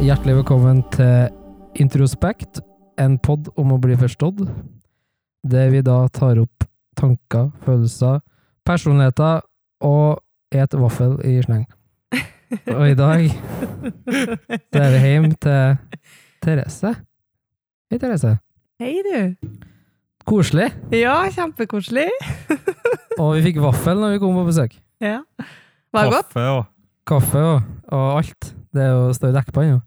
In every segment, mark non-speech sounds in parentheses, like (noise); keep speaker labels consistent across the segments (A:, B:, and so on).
A: Hjertelig velkommen til Introspekt, en pod om å bli forstått. Der vi da tar opp tanker, følelser, personligheter og et vaffel i sleng. Og i dag så er vi hjem til Therese. Hei, Therese.
B: Hei, du.
A: Koselig.
B: Ja, kjempekoselig. (laughs)
A: Og vi fikk vaffel når vi kom på besøk.
B: Ja. Var det godt?
C: Kaffe og
A: Kaffe og, og alt. Det er jo står jo dekk på ennå.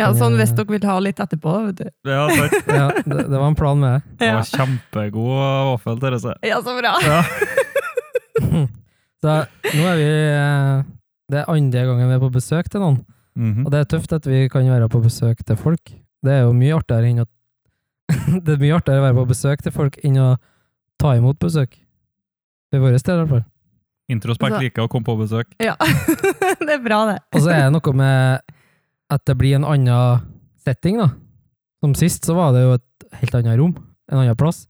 B: Ja, sånn hvis dere vil ha litt etterpå, vet du.
C: Ja, takk.
A: Ja, det, det var en plan med det.
C: Det
B: (laughs) Ja,
C: var kjempegod vaffel, Therese.
B: ja så bra.
C: Ja.
A: (laughs) Så nå er vi eh, Det er andre gangen vi er på besøk til noen. Og
C: Mhm.
A: det er tøft at vi kan være på besøk til folk. Det er jo mye artigere enn å (laughs) Det er mye artigere å være på besøk til folk enn å ta imot besøk. Ved våre steder, i hvert fall.
C: Introspekt
B: Altså-
C: liker å komme på besøk.
B: (laughs) Ja, (laughs) det er bra, det.
A: Og så er det noe med at det blir en annen setting, da. Som sist, så var det jo et helt annet rom. En annen plass.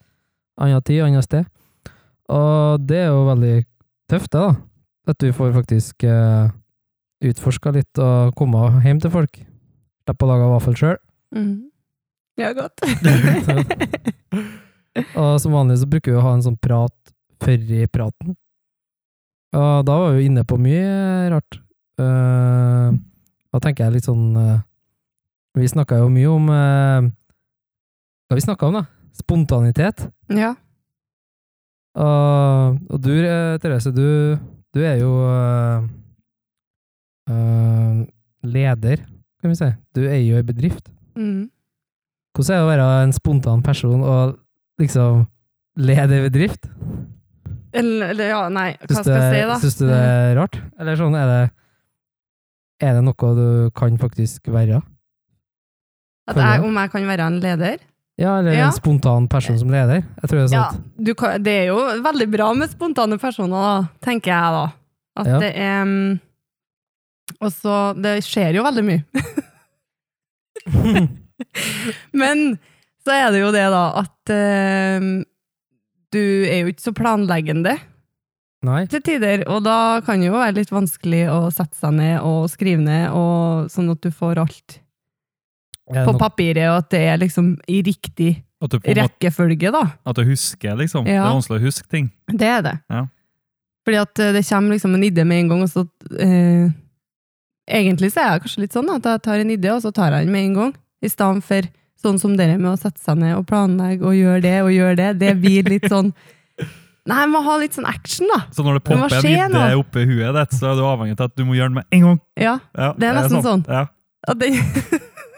A: Annen tid, annet sted. Og det er jo veldig tøft, det, da. At vi får faktisk eh, utforska litt og komme hjem til folk. Slippe å lage vaffel sjøl.
B: Mm. Ja, godt.
A: Og som vanlig så bruker vi å ha en sånn prat før i praten. Og da var vi jo inne på mye rart. Eh, da tenker jeg litt sånn eh, Vi snakka jo mye om eh, Hva vi snakka om, da? Spontanitet.
B: (laughs) Ja.
A: Og, og du, eh, Therese, du, du er jo eh, eh, leder, kan vi si. Du eier jo ei bedrift.
B: Mm.
A: Hvordan er det å være en spontan person og liksom lede en bedrift?
B: Eller, eller, ja, nei, hva
A: Syns
B: skal jeg si, da?
A: Syns du det er rart? Eller sånn, er det, er det noe du kan faktisk være?
B: At jeg, om jeg kan være en leder?
A: Ja, eller
B: Ja.
A: en spontan person som leder? Jeg tror det er
B: Ja,
A: sant.
B: du kan, det er jo veldig bra med spontane personer, da, tenker jeg da. At
A: Ja.
B: det er mm, Og så Det skjer jo veldig
A: (laughs)
B: mye. Men så er det jo det, da, at eh, du er jo ikke så planleggende
A: Nei?
B: til tider. Og da kan det jo være litt vanskelig å sette seg ned og skrive ned, og sånn at du får alt
A: Er det
B: på
A: noe-
B: papiret, og at det er liksom i riktig
C: At du, på en måte,
B: rekkefølge, da.
C: at du husker, liksom.
B: Ja.
C: Det er vanskelig å huske ting.
B: Det er det.
C: Ja.
B: Fordi at eh, det kommer liksom en idé med en gang, og så eh, Egentlig så er jeg kanskje litt sånn at jeg tar en idé, og så tar jeg den med en gang. I stedet for sånn som dere med å sette seg ned og planlegge og gjøre det og gjøre det. Det blir litt sånn Nei, jeg må ha litt sånn action, da.
C: Så når det
B: Men hva
C: popper en
B: skjer
C: idé
B: nå?
C: oppi huet ditt, så er du avhengig av at du må gjøre den med en gang.
B: Ja.
C: Ja,
B: Det er nesten sånn.
C: Ja,
B: At det,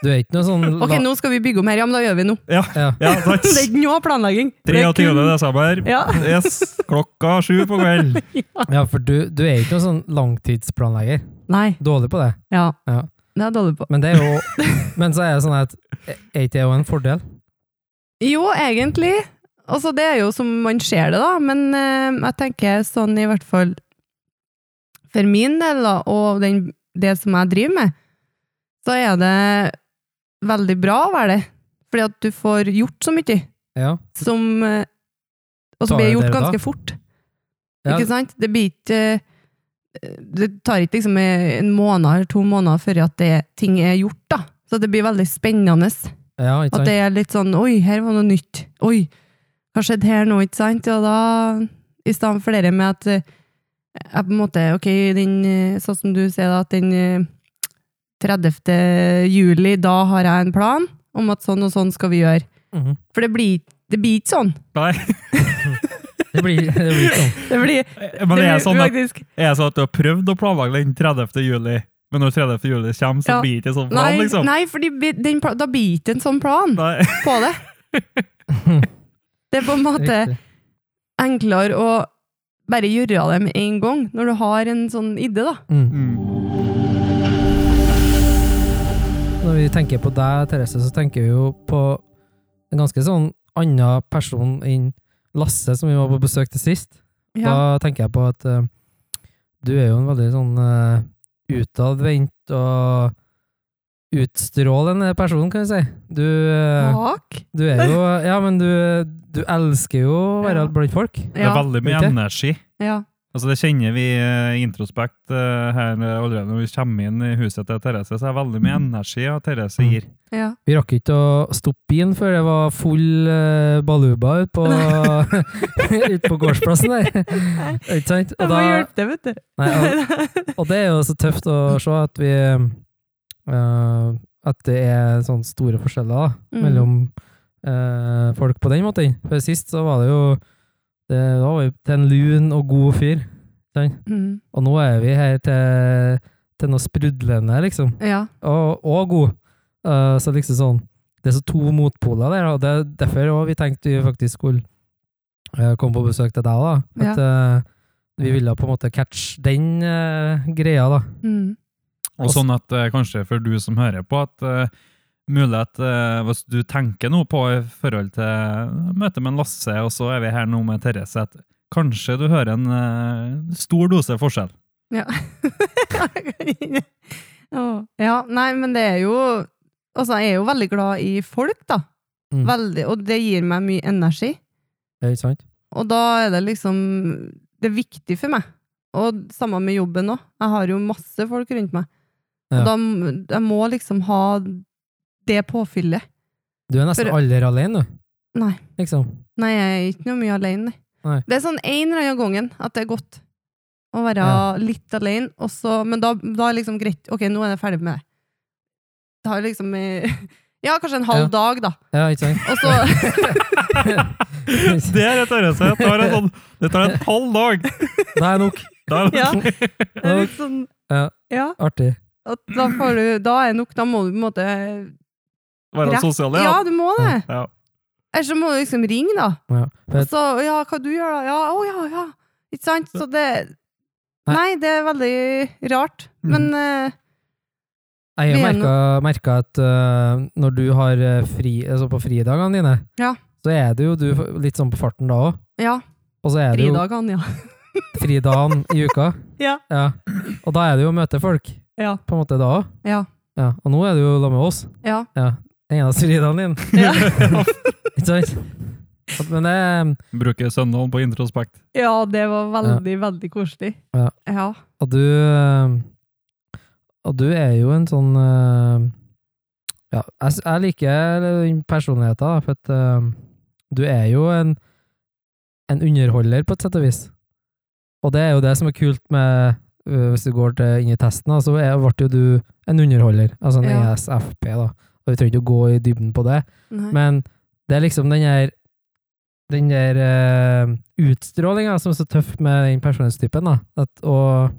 A: Du er ikke noe sånn
B: ok, nå skal vi bygge om her. Ja, men da gjør vi nå.
A: Ja.
C: ja
B: (laughs) Det er
C: sant.
B: ikke noe planlegging. Det er
C: 23.
B: kun-
C: desember.
B: Ja.
C: Yes, klokka sju på kvelden.
A: ja, for du, du er ikke noen sånn langtidsplanlegger.
B: Nei.
A: Dårlig på det.
B: Ja.
A: Ja.
B: Det er jeg dårlig på.
A: Men det er jo
B: (laughs)
A: Men så er det sånn at Er ikke det jo en fordel?
B: Jo, egentlig. Altså, det er jo som man ser det, da. Men eh, jeg tenker sånn i hvert fall for min del, da, og den, det som jeg driver med, så er det veldig bra å være det. Fordi at du får gjort så mye
A: Ja.
B: som eh, Og
A: Tar
B: så blir det
A: det
B: gjort
A: dere da?
B: ganske fort.
A: Ja.
B: Ikke sant? Det blir ikke eh, Det tar ikke liksom en måned eller to måneder før at det, ting er gjort, da. Så det blir veldig spennende.
A: ja ikke
B: At
A: sant?
B: det er litt sånn Oi, her var noe nytt. Oi, hva skjedde her nå, ikke sant? Og da, i stedet for det med at eh, jeg på en måte Ok, den, eh, sånn som du sier, da, at den eh, 30. juli, da har jeg en plan om at sånn og sånn skal vi gjøre.
A: Mhm.
B: For det blir, det blir ikke sånn.
C: Nei,
A: Det blir det blir ikke
B: (laughs)
A: sånn.
B: Det blir,
C: (laughs) men det er
B: det
C: sånn
B: blir
C: at,
B: faktisk
C: er det sånn at du har prøvd å planlegge den 30. juli, men når 30. juli kommer, så
B: Ja.
C: blir det ikke sånn plan,
B: Nei,
C: liksom.
B: nei for den, pla- da blir det ikke en sånn plan
C: Nei.
B: på det.
C: (laughs)
B: Det er på en måte
A: Riktig.
B: enklere å bare gjøre det med en gang, når du har en sånn idé, da.
A: Mm.
C: Mm.
A: Når vi tenker på deg, Therese, så tenker vi jo på en ganske sånn annen person enn Lasse, som vi var på besøk til sist.
B: Ja.
A: Da tenker jeg på at eh, du er jo en veldig sånn uh, utadvendt og utstrålende person, kan vi si. Du, eh,
B: Takk.
A: du er jo (laughs) Ja, men du, du elsker jo å være
B: Ja.
A: blant folk.
C: Det er
B: Ja,
C: veldig mye
A: Ikke?
C: energi.
B: ja.
C: Altså Det kjenner vi eh, i introspekt eh, her allerede når vi kommer inn i huset til Therese. Så er det veldig mye energi at Therese
A: Mm.
C: gir.
B: Ja.
A: Vi rakk ikke å stoppe bilen før det var full eh, baluba ute på, (laughs) ut på gårdsplassen
B: (laughs)
A: der. Ikke sant? Og
B: Jeg må
A: da-
B: hjelpe deg, vet du.
A: nei, og, og det er jo så tøft å se at vi eh, At det er sånne store forskjeller da,
B: Mm.
A: mellom eh, folk på den måten. For sist så var det jo det da var vi til en lun og god fyr. sant?
B: (laughs) Mm.
A: Og nå er vi her til, til noe sprudlende, liksom.
B: Ja.
A: og, og god. Eh, så liksom sånn, det er så to motpoler der, og det er derfor også vi tenkte vi faktisk skulle eh, komme på besøk til deg da. At eh, vi ville på en måte catch den eh, greia da.
B: Mm.
C: Og sånn at eh, kanskje for du som hører på, at eh, mulig at eh, hvis du tenker noe på i forhold til eh, møtet med en Lasse, og så er vi her nå med Therese, at kanskje du hører en eh, stor dose
B: (laughs)
C: forskjell.
B: Ja. Åh, ja, nei, men det er jo Altså, jeg er jo veldig glad i folk, da.
A: Mm.
B: Veldig, og det gir meg mye energi.
A: Det er ikke sant?
B: Og da er det liksom Det er viktig for meg. Og samme med jobben òg. Jeg har jo masse folk rundt meg.
A: Ja.
B: Og da m- jeg må liksom ha det påfyllet.
A: Du er nesten
B: For-
A: aldri alene, du.
B: Nei.
A: Liksom.
B: Nei, jeg er ikke noe mye alene.
A: Nei.
B: Det er sånn en eller annen gangen at det er godt å være
A: Ja.
B: litt alene, og så, men da, da er det liksom greit. Ok, nå er jeg ferdig med det. Da har jeg liksom eh, (laughs) Ja, kanskje en halv
A: Ja.
B: dag, da.
A: Ja, ikke sant?
B: Og så, (laughs)
A: (laughs)
C: Det er det, Therese. Det tar en, sånn, det tar en halv dag.
A: Det er nok.
C: Da er det-
B: ja, det er
A: Ja.
B: litt sånn,
A: Ja.
B: ja
A: Artig.
B: at da, får du, da er nok Da må du på en måte
C: (laughs) Være
B: Rett-
C: sosial
B: Ja,
C: igjen.
B: du må det!
C: Ja.
B: Ellers så må du liksom ringe, da.
A: Ja. For,
B: Og så Ja, hva du gjør, da? Ja, å ja, ja. Ikke sant? Så det
A: Nei. Mm.
B: Nei, det er veldig rart. Men eh,
A: jeg har
B: vi er nå-
A: merket, merket at eh, når du har eh, fri, altså på fridagene dine,
B: Ja.
A: så er det jo du litt sånn på farten da også.
B: ja.
A: Og så er det jo
B: Fridagene, ja.
A: fridagen i uka.
B: Ja.
A: Og da er det jo å møte folk,
B: Ja.
A: på en måte da òg.
B: Ja.
A: Ja. Og nå er det jo da med oss.
B: Ja.
A: Ja. Den eneste fridagen din,
B: Ja.
A: ikke sant? At- Men det
C: Bruke søndagen på introspekt.
B: (laughs) ja, det var veldig, veldig koselig.
A: Ja.
B: Ja.
A: Og du eh, Og du er jo en sånn eh, Ja, jeg, s- jeg liker den personligheten, da, for at eh, du er jo en en underholder, på et sett og vis. Og det er jo det som er kult med øh, Hvis du går til, inn i testen, da, så er- ble jo du en underholder. Altså en
B: Ja.
A: ESFP, da. Og vi trenger ikke å gå i dybden på det.
B: Nei.
A: Men det er liksom den der den der utstrålinga som er så tøff med den personlighetstypen. da. At, og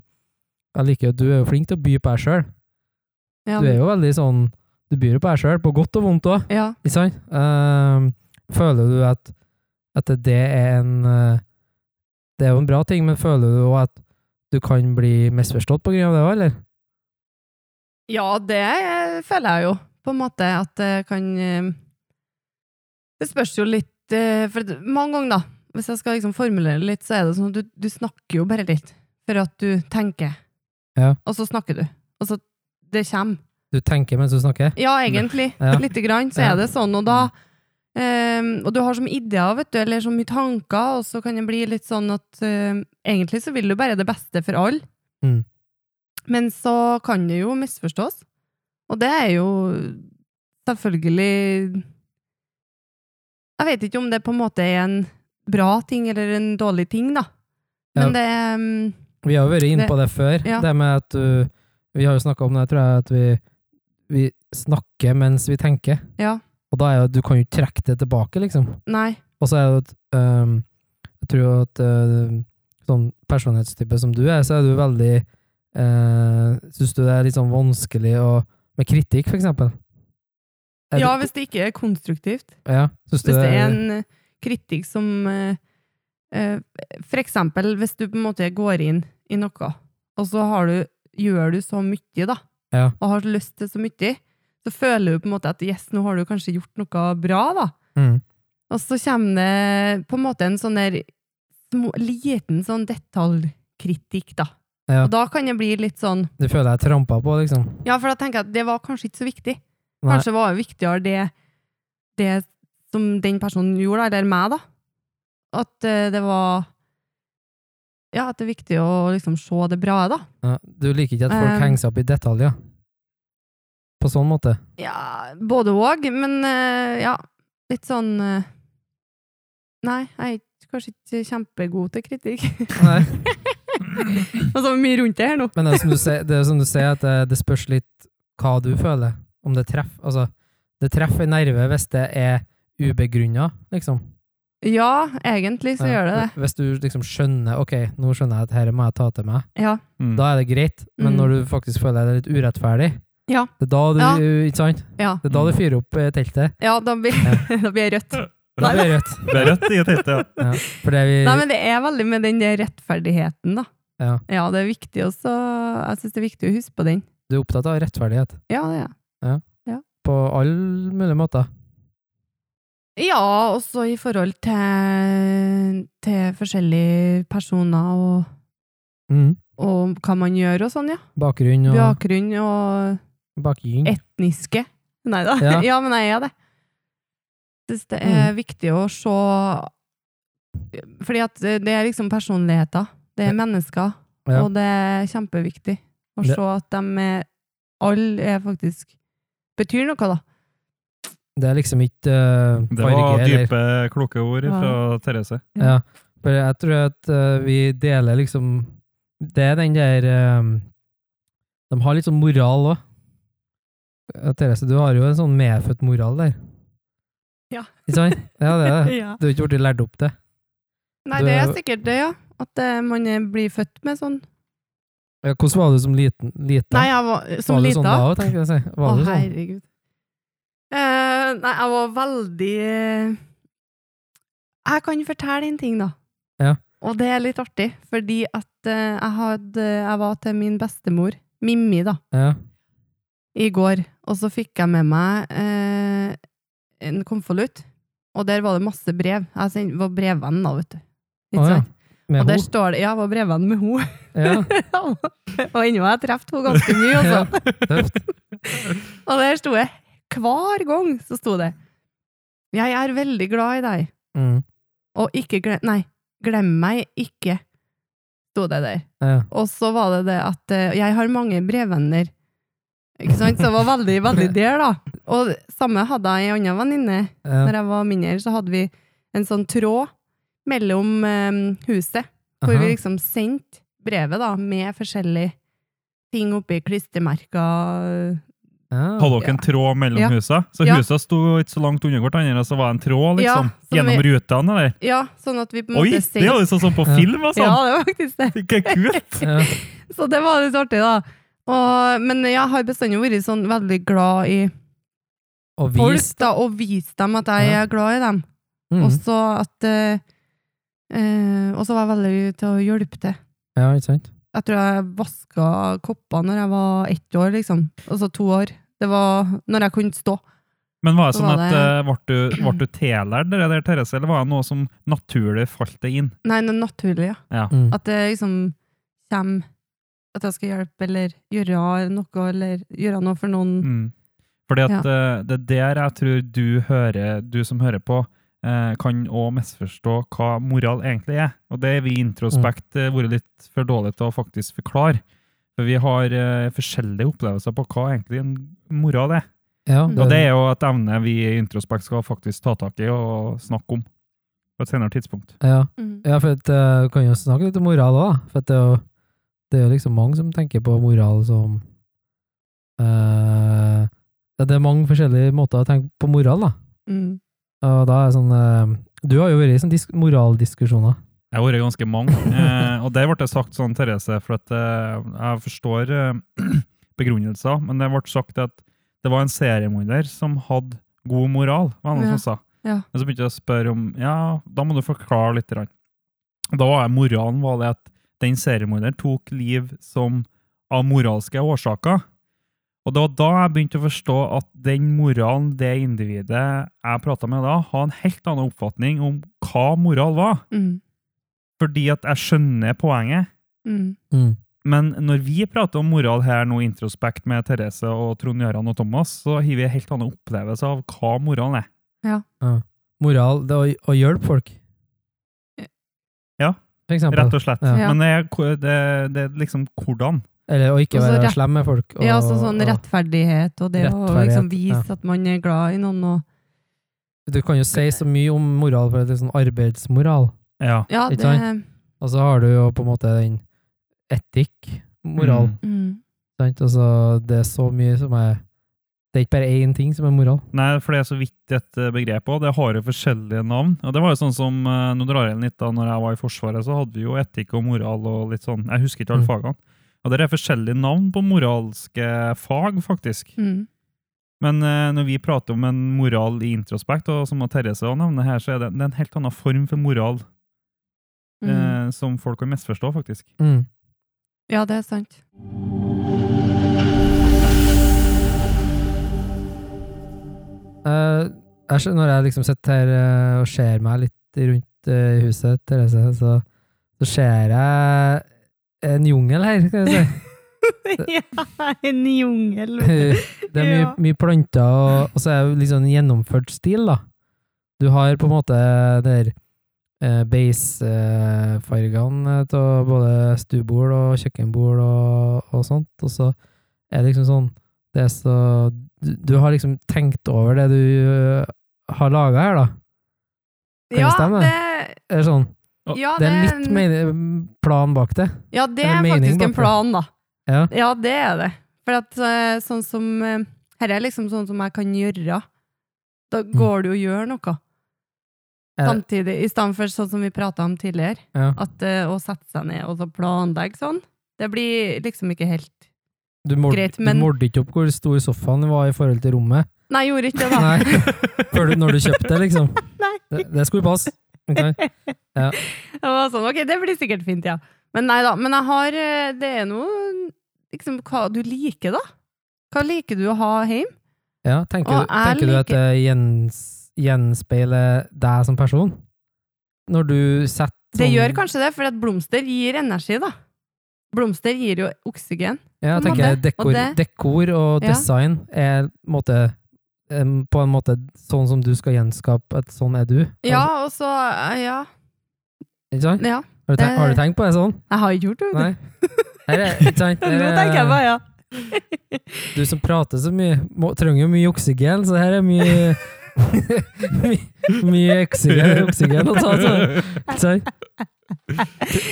A: jeg liker jo at du er jo flink til å by på deg sjøl.
B: ja.
A: Du er jo veldig sånn Du byr jo på deg sjøl, på godt og vondt òg.
B: Ja.
A: Ikke sant? Ehm, føler du at, at det er en eh, Det er jo en bra ting, men føler du også at du kan bli misforstått på grunn av det òg, eller?
B: ja, det eh, føler jeg jo, på en måte, at det kan eh, Det spørs jo litt eh, For det- mange ganger, da, hvis jeg skal liksom formulere det litt, så er det sånn at du, du snakker jo bare litt for at du tenker,
A: Ja.
B: og så snakker du. Og så det kommer.
A: Du tenker mens du snakker?
B: Ja, egentlig. (laughs)
A: Ja.
B: Lite grann, så
A: Ja.
B: er det sånn. Og da ehm, Og du har så mye ideer, vet du, eller så mye tanker, og så kan det bli litt sånn at ehm, egentlig så vil du bare det beste for alle.
A: Mm.
B: Men så kan det jo misforstås. Og det er jo selvfølgelig Jeg vet ikke om det på en måte er en bra ting eller en dårlig ting, da. Men det ehm,
A: Vi har jo vært inne på det før.
B: ja.
A: Det med at du Vi har jo snakka om det, tror jeg, at vi, vi snakker mens vi tenker.
B: Ja.
A: Og da er jo Du kan jo ikke trekke det tilbake, liksom.
B: Nei.
A: Og så er det jo at ehm, Jeg tror jo at eh, sånn personlighetstype som du er, så er du veldig uh, Syns du det er litt sånn vanskelig å Med kritikk, for eksempel? Er
B: Ja,
A: du-
B: hvis det ikke er konstruktivt.
A: ja, synes du
B: Hvis det er en eh, kritikk som eh, eh, For eksempel hvis du på en måte går inn i noe, og så har du, gjør du så mye, da,
A: Ja.
B: og har lyst til så mye, så føler du på en måte at yes, nå har du kanskje gjort noe bra, da.
A: mm,
B: Og så kommer det på en måte en sånn der små, liten sånn detaljkritikk, da.
A: Ja.
B: Og da kan det bli litt sånn
A: Du føler deg trampa på, liksom?
B: Ja, for da tenker jeg at det var kanskje ikke så viktig.
A: Nei.
B: Kanskje var det viktigere det, det som den personen gjorde, da, eller meg, da. At eh, det var ja, at det er viktig å liksom se det bra, da.
A: Ja, du liker ikke at folk
B: Eh.
A: henger seg opp i detaljer? På sånn måte?
B: Ja, både og, men eh, ja, litt sånn eh, Nei, jeg er ikke- kanskje ikke kjempegod til (laughs) kritikk.
A: Nei.
B: Og så mye rundt det her nå.
A: (laughs) Men det er som du sier, det, er som du sier at det, det spørs litt hva du føler, om det treffer. Altså, det treffer en nerve hvis det er ubegrunna, liksom.
B: Ja, egentlig så gjør det det.
A: Hvis du liksom skjønner ok, nå skjønner jeg at dette må jeg ta til meg,
B: Ja.
C: Mm.
A: da er det greit. Men
B: Mm.
A: når du faktisk føler det er litt urettferdig,
B: Ja.
A: det er da du,
B: Ja.
A: ikke sant?
B: Ja,
A: Det er
C: Mm.
A: da du fyrer opp eh, teltet.
B: ja da, blir, (laughs) da blir jeg rødt.
A: Da
B: Nei,
A: blir det rødt.
B: (laughs)
C: Det er rødt i et hete, ja.
A: Ja, fordi vi,
B: Nei, men det er veldig med den der rettferdigheten, da.
A: ja,
B: Eh, Ja, det er viktig også. Jeg syns det er viktig å huske på den.
A: du er opptatt av rettferdighet
B: Ja, det er jeg.
A: på alle mulige måter.
B: Ja, også i forhold til, til forskjellige personer og,
A: Mm.
B: og hva man gjør og sånn, ja.
A: Bakgrunn og
B: Bakgrunn og
A: bakgrunn.
B: etniske. Nei da. (laughs) Ja. Mm.
A: Ja.
B: men jeg er det. Jeg syns det er viktig å se Fordi at det er liksom personligheter. Det er mennesker.
A: Ja.
B: Og det er kjempeviktig å
A: Det-
B: se at de er Alle er faktisk Betyr noe, da.
A: Det er liksom ikke eh,
C: Det
A: farge
C: var
A: eller
C: dype, kloke ord fra Therese.
B: Mm.
A: Ja. For jeg tror at eh, vi deler liksom Det er den der eh, De har litt sånn moral òg. Therese, du har jo en sånn medfødt moral der.
B: Ja.
A: Ikke sant? Ja, det er det.
B: (laughs) Ja.
A: Du har ikke blitt lært opp til.
B: Nei,
A: Du
B: det er
A: er-
B: sikkert det, ja. At eh, man eh, blir født med sånn.
A: Ja, hvordan var du som liten? liten?
B: Nei, jeg var som
A: var du
B: lita.
A: sånn da òg, tenker jeg å si. Var
B: Å,
A: du sånn?
B: herregud. Eh, nei, jeg var veldig eh, Jeg kan fortelle en ting, da.
A: Ja.
B: Og det er litt artig, fordi at eh, jeg, hadde, jeg var til min bestemor, Mimmi, da,
A: Ja.
B: i går. Og så fikk jeg med meg eh, en konvolutt, og der var det masse brev. Jeg send- var brevvenn, da, vet du.
A: Å,
B: Ikke
A: ja.
B: sant?
A: Med
B: Og der
A: henne?
B: står det Ja, jeg var brevvenn med henne.
A: Ja.
B: (laughs) og ennå har jeg truffet henne ganske mye, altså.
A: (laughs) ja. Tøft.
B: Og der sto jeg hver gang, så sto det Jeg er veldig glad i deg,
A: Mm.
B: og ikke glem Nei, glem meg ikke, sto det der.
A: Ja.
B: Og så var det det at eh, jeg har mange brevvenner. Ikke sant? Så det var veldig, veldig
A: (laughs)
B: der, da. Og samme hadde jeg ei anna venninne.
A: Ja.
B: Når jeg var mindre, så hadde vi en sånn tråd mellom eh, huset, hvor
A: Aha.
B: vi liksom sendte brevet, da, med forskjellige ting oppi klistremerker. eh,
A: Ja.
C: Hadde dere en tråd mellom
B: Ja.
C: husa? Så
B: Ja.
C: husa sto ikke så langt unna hverandre, så var det en tråd liksom,
B: Ja, som
C: gjennom rutene? Eller?
B: Ja, sånn at vi på en
C: Oi,
B: måte
C: det er jo sånn som på
A: Ja.
C: film! Altså.
B: Ja, det var faktisk det. (laughs)
C: Ikke kult!
A: Ja.
B: Så det var litt artig, da. Og, men jeg har bestandig vært sånn veldig glad i
A: Og
B: folk,
A: vis.
B: da, og vist dem at jeg
A: Ja.
B: er glad i dem.
A: Mm.
B: Og så at eh, eh, Og så var jeg veldig til å hjelpe til.
A: Ja, ikke sant?
B: Jeg tror jeg vaska kopper når jeg var ett år, liksom. Altså to år. Det var når jeg kunne stå.
C: Men var det
B: Så
C: sånn
B: var
C: at eh, ble du, ble du tillært det der, Therese, eller var det noe som naturlig falt deg inn?
B: Nei, det er naturlig, ja.
C: Ja.
A: Mm.
B: At det liksom kommer At jeg skal hjelpe eller gjøre noe, eller gjøre noe for noen.
C: Mm. Fordi at eh, det er der jeg tror du, hører, du som hører på, eh, kan òg misforstå hva moral egentlig er. Og det er vi i introspekt eh, vært litt for dårlige til å faktisk forklare. For vi har eh, forskjellige opplevelser på hva egentlig en moral er.
A: Ja,
B: Og
A: er
C: Og det er jo et emne vi i introspekt skal faktisk ta tak i og snakke om på et senere tidspunkt.
A: ja.
B: Mm.
A: Ja, for at, eh, du kan jo snakke litt om moral òg, for at det er jo det er jo liksom mange som tenker på moral som eh, ja, Det er mange forskjellige måter å tenke på moral, da.
B: Mm.
A: Og da er det sånn eh, Du har jo vært i sånne disk moraldiskusjoner.
C: Jeg har vært ganske mange, eh, og det ble det sagt sånn, Therese, for at eh, jeg forstår eh, (clears throat) begrunnelser, men det ble sagt at det var en seriemorder som hadde god moral, var det noen
B: Ja,
C: som sa.
B: ja.
C: Men så begynte jeg å spørre om, ja, da må du forklare litt. grann. Og Da var jeg, moralen var det at den seriemorderen tok liv som av moralske årsaker, og det var da jeg begynte å forstå at den moralen det individet jeg pratet med da, har en helt annen oppfatning om hva moral var.
B: Mm.
C: Fordi at jeg skjønner poenget.
B: Mm.
A: Mm.
C: Men når vi prater om moral her nå, introspekt med Therese og Trond Gjøran og Thomas, så har vi en helt annen opplevelse av hva moralen er.
A: Moral det er å, å hjelpe folk.
C: Ja.
A: for eksempel.
C: Rett og slett.
A: Ja.
B: Ja.
C: Men det er, ko- det, det er liksom hvordan.
A: Eller å ikke
B: Og så
A: være
B: rett-
A: slem med folk. og-
B: Ja, altså sånn
A: og-
B: rettferdighet og det å
A: Rettferdighet,
B: liksom vise
A: ja.
B: at man er glad i noen og
A: Du kan jo si så mye om moral, for det er sånn arbeidsmoral.
C: Ja.
B: Ja,
A: Ikke
B: det
A: sant? Og så har du jo på en måte den etikk, moral.
C: Mm.
B: mm.
A: Sant? Altså, det er så mye som er Det er ikke bare én ting som er moral.
C: Nei, for det er så vidt et eh, begrep òg. Det har jo forskjellige navn. Og det var jo sånn som eh, Nå drar jeg inn litt, da når jeg var i Forsvaret, så hadde vi jo etikk og moral og litt sånn. Jeg husker ikke alle
A: Mm.
C: fagene. Og det er forskjellige navn på moralske fag, faktisk.
B: Mm.
C: Men eh, når vi prater om en moral i introspekt, og som Therese også nevner her, så er det, det er en helt annen form for moral
B: Mm.
C: eh, som folk kan misforstå, faktisk.
A: Mm.
B: Ja, det er sant.
A: Eh, jeg, skjø- når jeg liksom sitter her eh, og ser meg litt rundt eh, i huset, Therese, så, så ser jeg en jungel her, skal jeg si.
B: (laughs) ja, en jungel.
A: (laughs) Det er mye,
B: Ja.
A: mye planter, og, og så er det liksom en gjennomført stil, da. Du har på en måte der eh, beigefargene av både stuebord og kjøkkenbord og, og sånt, og så er det liksom sånn det er så, du, du har liksom tenkt over det du eh, har laga her, da. det
B: Ja,
A: stemme?
B: det,
A: Det er sånn.
B: ja,
A: Det er litt
B: en-
A: men- plan bak det.
B: Ja, det
A: Eller
B: er
A: mening
B: faktisk
A: bak
B: en
A: det.
B: plan, da.
A: Ja.
B: det er det. For at eh, sånn som eh, Her er liksom sånn som jeg kan gjøre. Da går det jo å gjøre noe.
A: Mm. Er det-
B: Samtidig, i stedet for sånn som vi prata om tidligere,
A: Ja.
B: at eh, å sette seg ned og så planlegge sånn, det blir liksom ikke helt
A: Du målte
B: Greit,
A: du
B: men-
A: målte ikke opp hvor stor sofaen var i forhold til rommet.
B: Nei, jeg gjorde ikke det, da.
A: Nei. Før du, når du kjøpte det,
B: (laughs)
A: liksom. Det, det skulle passe. Ok.
B: Det var sånn, ok, det blir sikkert fint, ja. Men nei da, men jeg har, eh, det er noe, liksom, hva du liker da? Hva liker du å ha hjemme?
A: Ja, tenker,
B: Og
A: du-
B: jeg
A: tenker du at
B: liker-
A: det gjens, gjenspeiler deg som person? Når du setter
B: Det
A: sånn-
B: gjør kanskje det, for at blomster gir energi da. Blomster gir jo oksygen.
A: Ja, jeg
B: på en
A: tenker
B: måte.
A: dekor
B: Og
A: og,
B: det-
A: dekor og
B: Ja.
A: design er på en måte, em, på en måte sånn som du skal gjenskape at sånn er du.
B: Ja, og så, eh, ja,
A: Ikke sant?
B: ja.
A: Har, du tenkt, har du
B: det-
A: tenkt på det sånn?
B: Jeg har gjort det. (laughs) vet
A: Nei. Her er, ikke sant?
B: du.
A: Her
B: Nå
A: er-
B: tenker jeg bare, ja.
A: Du som prater så mye, må, trenger jo mye oksygen, så her er mye (laughs) Mye, mye oksygen, oksygen å ta. Så. Så,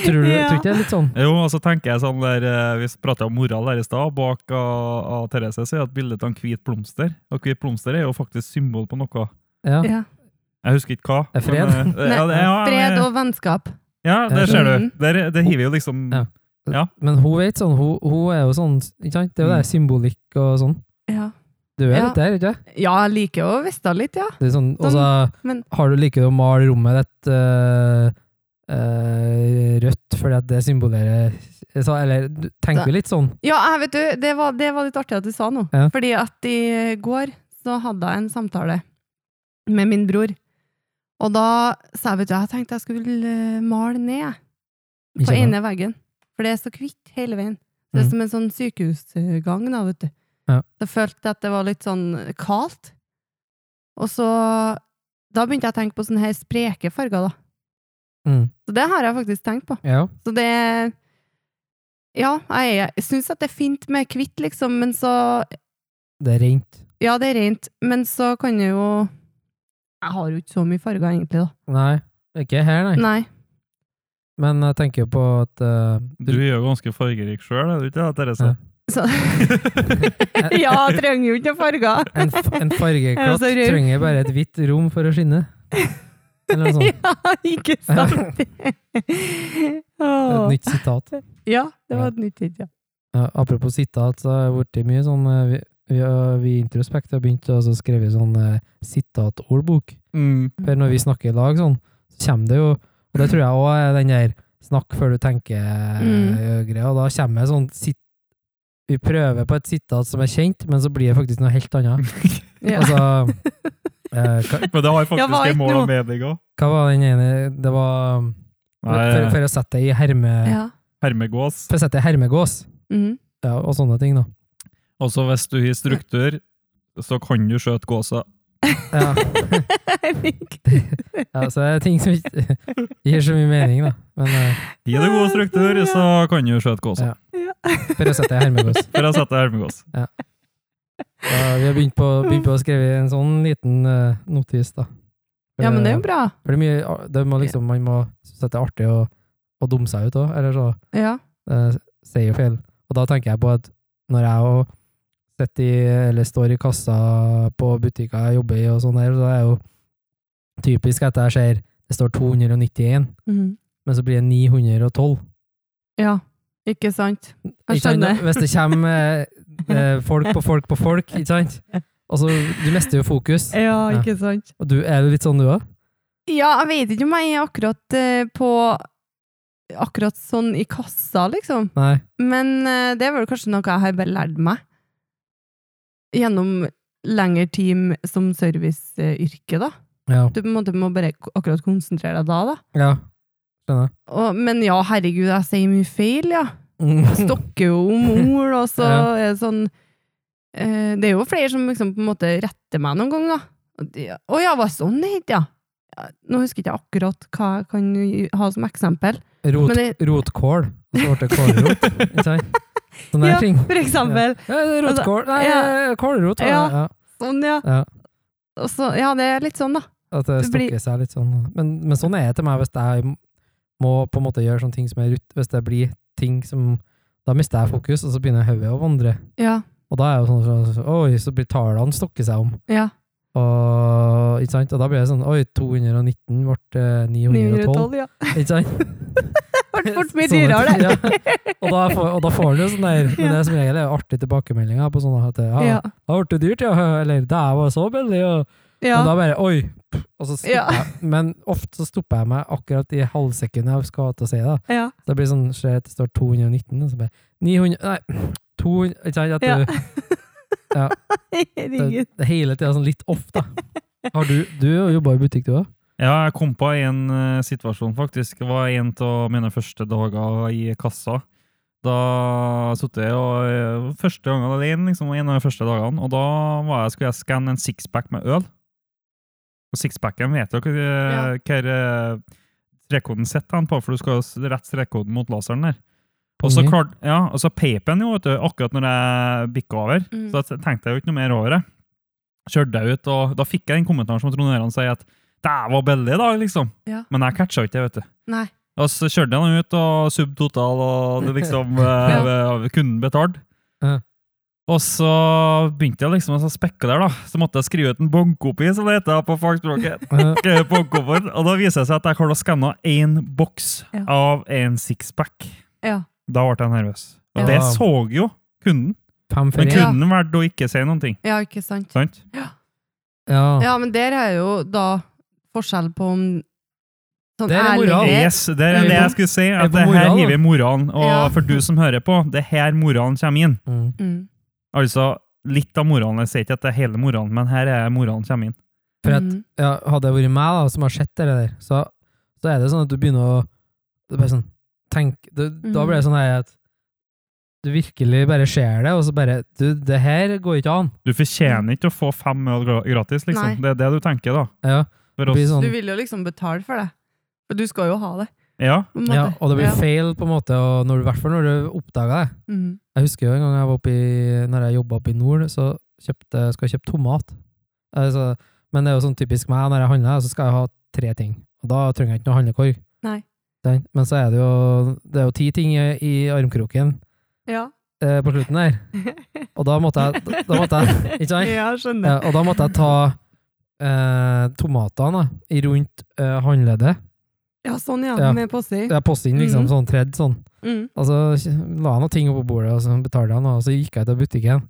A: tror du
B: Ja.
A: tror ikke det er litt sånn?
C: (laughs) Jo, og så tenker jeg sånn der, eh, Vi prata om moral her i stad. Bak av, av Therese så er det et bilde av en hvit blomster. Og hvit blomster er jo faktisk symbol på noe.
A: Ja.
B: ja.
C: Jeg husker ikke hva.
A: Det er fred.
C: men,
B: (laughs)
C: eh, ja, det- ja,
B: Fred
C: men-
B: og vennskap.
C: Ja, der ser du.
B: Mm.
C: Der, det hiver jo liksom
A: Ja.
C: Ja.
A: Men hun vet sånn, hun, hun er jo sånn ikke sant? Det er jo det
C: Mm.
A: her symbolikk og sånn.
B: Ja.
A: Du er
B: Ja.
A: litt der, ikke sant?
B: Ja, jeg liker å veste litt, ja.
A: Det er sånn, og så
B: men-
A: har du liker å male rommet ditt eh, eh, rødt, fordi at det symbolerer så, Eller du tenker jo litt sånn.
B: Ja, jeg vet du, det var, det var litt artig at du sa noe.
A: Ja.
B: Fordi at i går så hadde jeg en samtale med min bror. Og da sa jeg, vet du, jeg tenkte jeg skulle eh, male ned på
A: Ikke sant?
B: ene veggen. For det er så kvitt hele veien. Det er
A: Mhm.
B: som en sånn sykehusgang da, vet du.
A: Ja.
B: Jeg følte at det var litt sånn kaldt. Og så, da begynte jeg å tenke på sånne her spreke farger da.
A: Mm.
B: Så det har jeg faktisk tenkt på.
A: Ja.
B: Så det Ja, jeg, jeg syns at det er fint med hvitt, liksom, men så
A: Det er rent.
B: Ja, det er rent, men så kan jeg jo Jeg har jo ikke så mye farger, egentlig, da.
A: Nei, ikke her, nei.
B: Nei.
A: Men jeg tenker jo på at eh,
C: Du er jo ganske fargerik sjøl, er du ikke det, Therese?
B: (laughs) Så, ja, jeg trenger jo ikke farger!
A: En, f- en
B: (laughs) Jeg er
A: fargeklatt
B: så rød.
A: trenger bare et hvitt rom for å skinne. Eller noe sånt.
B: (laughs) Ja, ikke (laughs) sant?
A: Et
B: Åh.
A: nytt sitat.
B: Ja, det var et nytt hit, ja.
A: Ja, apropos sitat, så har det blitt mye sånn eh, Vi, vi, har- vi i Introspekt har begynt å så skrive sånn eh, sitatordbok.
C: (laughs) Mm.
A: For når vi snakker i lag sånn, så kommer det jo Og det tror jeg òg er den der snakk før du
B: Mm.
A: tenker-greia. Da kommer det sånn sit, Vi prøver på et sitat som er kjent, men så blir det faktisk noe helt
B: (laughs)
A: annet.
B: Ja.
A: Altså eh, hva,
C: Men det har
B: Ja,
C: faktisk
B: hva er
C: en mål
B: nå?
C: og mening òg.
A: hva var den ene Det var For,
C: Nei,
A: for å sette det i herme...
B: ja.
C: Hermegås.
A: For å sette det i hermegås,
B: Mhm.
A: ja, og sånne ting, da.
C: Også hvis du har struktur, så kan du skjøte gåser.
A: Ja, (laughs)
B: (laughs) Jeg fikk-
A: ja så det er ting som ikke (laughs) gir så mye mening, da. Men eh,
C: Gi det god struktur, så kan du skjøte gås.
A: Ja. bare sett deg i hermegås.
C: For jeg setter hermegås.
A: Ja, vi har begynt på, begynt på å skrive en sånn liten eh, notis, da. For,
B: Ja, men det er jo bra.
A: For det er mye, det må liksom, man må synes at det er artig å, å dumme seg ut òg, eller så
B: Ja.
A: eh, sier jo feil. Og da tenker jeg på at når jeg og sitter i, eller står i kassa på butikker jeg jobber i og sånn her, så er jo typisk at jeg ser det står 291,
B: Mhm.
A: men så blir det 912.
B: Ja, ikke sant? Jeg
A: Ikke sant?
B: skjønner.
A: Hvis det kommer eh, eh, folk på folk på folk, ikke sant? Og så, du mister jo fokus.
B: Ja,
A: Ja.
B: ikke sant?
A: Og du, er du litt sånn du òg?
B: Ja, jeg vet ikke om jeg er akkurat eh, på Akkurat sånn i kassa, liksom.
A: Nei.
B: Men eh, det er vel kanskje noe jeg har bare lært meg gjennom lengre tid som serviceyrke, da.
A: Ja.
B: Du på en måte må bare k- akkurat konsentrere deg da, da.
A: ja. Skjønner.
B: Og, men ja, herregud, jeg sier mye feil, ja. Stokker jo om ord, og så
A: (laughs) Ja.
B: er det sånn eh, Det er jo flere som liksom på en måte retter meg noen ganger, da. Og de- Å ja, var sånn det het, ja. Ja, Nå husker ikke jeg akkurat hva jeg kan ha som eksempel.
A: Rot,
B: Men det-
A: Rotkål. Og så ble det kålrot. Ikke sant? Sånne
B: Ja,
A: her ting.
B: for eksempel.
A: Ja, det er
B: Altså,
A: rotkål. Nei,
B: ja.
A: eh, kålrot. var det,
B: Ja.
A: Ja.
B: Sånn, ja.
A: Ja.
B: Og så, ja, det er litt sånn, da.
A: At det
B: Det blir-
A: stokker seg litt sånn. Men, men sånn er det til meg hvis jeg må på en måte gjøre sånne ting som er rutt, hvis det blir ting som Da mister jeg fokus, og så begynner hodet å vandre.
B: Ja. Og
A: Og da er jeg jo sånn sånn- Oi, så blir tallene stokker seg om.
B: Ja.
A: Og, ikke sant? og da blir det sånn Oi, 219 ble eh, 912.
B: 912, ja. (laughs)
A: Ikke sant?
B: Det ble fort
A: (laughs)
B: mye
A: Sånne
B: dyrere,
A: ting,
B: det. (laughs)
A: Ja. Og, da får, og da får du jo sånn der Men det er som regel er artige tilbakemeldinger på sånne at ja,
B: Ja.
A: det ble dyrt, ja. Eller det var så billig, og
B: ja.
A: Men da bare Oi! pff, Og så stopper
B: Ja.
A: jeg. Men ofte så stopper jeg meg akkurat i halvsekundet jeg skal til å si det.
B: ja. (laughs)
A: Da blir det sånn Ser at det står 219, og så bare 900 Nei, 200 Ikke sant? At
B: Ja.
A: du, det,
B: (laughs) Herregud.
A: det hele tida sånn litt off, da. Har du Du jobba i butikk, du òg?
C: Ja, jeg kom på en eh, situasjon, faktisk. Det var en av mine første dager i kassa. Da satt jeg og eh, Første gangen alene, liksom, en av de første dagene. Og da var jeg, skulle jeg skanne en sixpack med øl. Og sixpacken vet dere eh, hva eh, strekkoden sitter han på, for du skal jo rette strekkoden mot laseren der. Og så
A: Mhm.
C: klart, ja, og så peip den jo vet du, akkurat når jeg bikka over.
B: Mm.
C: Så da tenkte jeg jo ikke noe mer over det. Kjørte jeg ut, og da fikk jeg den kommentaren som trondheimerne sier at det var billig i dag, liksom.
B: Ja.
C: Men jeg catcha ikke det, vet du.
B: Nei.
C: Og så kjørte jeg den ut, og sub total, og det liksom
B: (laughs)
C: eh, Kunden betalte.
A: Ja.
C: Og så begynte jeg liksom å spekke der, da. Så måtte jeg skrive ut en bonkopi, som det heter på fagspråket.
A: Ja.
C: Skrev eh, på koffert, og da viser det seg at jeg klarte å skanne én boks
B: Ja.
C: av en sixpack.
B: Ja.
C: Da ble jeg nervøs. Og
A: Ja.
C: det så jo kunden.
A: Fem for
C: Men
A: én?
B: kun-
C: kunden valgte å ikke si noen ting.
B: ja, ikke sant.
C: Sant?
A: Ja.
B: Ja, men der er jo da forskjell på om sånn
A: Der er moral.
B: ærlighet-
C: Yes, det er det jeg skulle si.
A: Er
C: At
A: på
C: det her
A: moral, da.
C: hiver moralen. Og
B: Ja.
C: for du som hører på, det er her moralen kommer inn.
A: Mm.
B: Mm.
C: Altså, litt av moralen. Jeg sier ikke at det er hele moralen, men her er moralen kommer inn.
A: For at
B: Mm.
A: ja, hadde det vært meg da, som har sett det der, så, så er det sånn at du begynner å det er bare sånn, tenk, du, Da
B: Mm.
A: blir det sånn her at du virkelig bare ser det, og så bare Du, det her går ikke an.
C: Du fortjener ikke å få fem øl gra- gratis,
B: Mm. Nei.
C: liksom. Det er det du tenker, da.
A: Ja,
C: For
A: det blir
C: oss.
A: sånn,
B: Du vil jo liksom betale for det. For du skal jo ha det.
C: Ja.
B: På en måte.
A: ja, og det blir
B: Ja.
A: feil, på en måte, og når, i hvert fall når du oppdager det.
B: Mm.
A: Jeg husker jo en gang jeg var oppe i, når jeg jobba oppe i nord, så kjøpte, skal jeg kjøpe tomat. Altså, men det er jo sånn typisk meg, når jeg handler, så skal jeg ha tre ting. Og da trenger jeg ikke noe handlekorg.
B: Nei.
A: Den- Men så er det jo, det er jo ti ting i, i armkroken
B: Ja.
A: eh, på slutten der.
B: (laughs)
A: Og da måtte jeg, da måtte jeg ikke sant?
B: ja, skjønner.
A: Ja, og da måtte jeg ta eh, tomatene da, i rundt eh, håndleddet.
B: Ja, sånn ja.
A: Ja.
B: Med påsi.
A: Jeg postet inn liksom
B: Mhm.
A: sånn tredd sånn.
B: Mm.
A: Og så Altså, la han noen ting opp på bordet, og så betalte han, og så gikk jeg til butikken.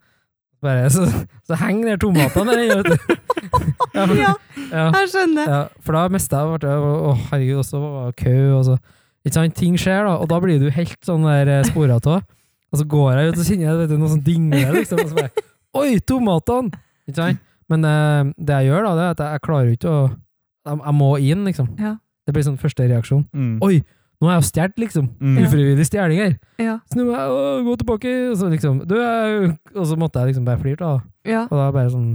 A: Bare, (laughs) så, så henger der tomatene der inne, vet du. (laughs) Ja, men-
B: Ja,
A: ja,
B: jeg skjønner.
A: ja, for da mista jeg, ble jeg Å, herregud, og så var det kø, og så Ikke sant, ting skjer, da, og da blir du helt sånn der spora av. Og så går jeg ut, og så kjenner jeg vet du, noe som dingler, liksom, og så bare Oi, tomatene! Ikke sant? Men eh, det jeg gjør, da, det er at jeg, jeg klarer jo ikke å jeg, jeg må inn, liksom.
B: Ja.
A: Det blir sånn første reaksjon.
C: Mm.
A: Oi, nå har jeg jo stjålet, liksom.
C: Mm.
A: Ufrivillig stjeling her.
B: Ja.
A: Snu meg og gå tilbake. Og så, liksom, du, jeg- og så måtte jeg liksom bare flire, da.
B: ja.
A: Og da bare sånn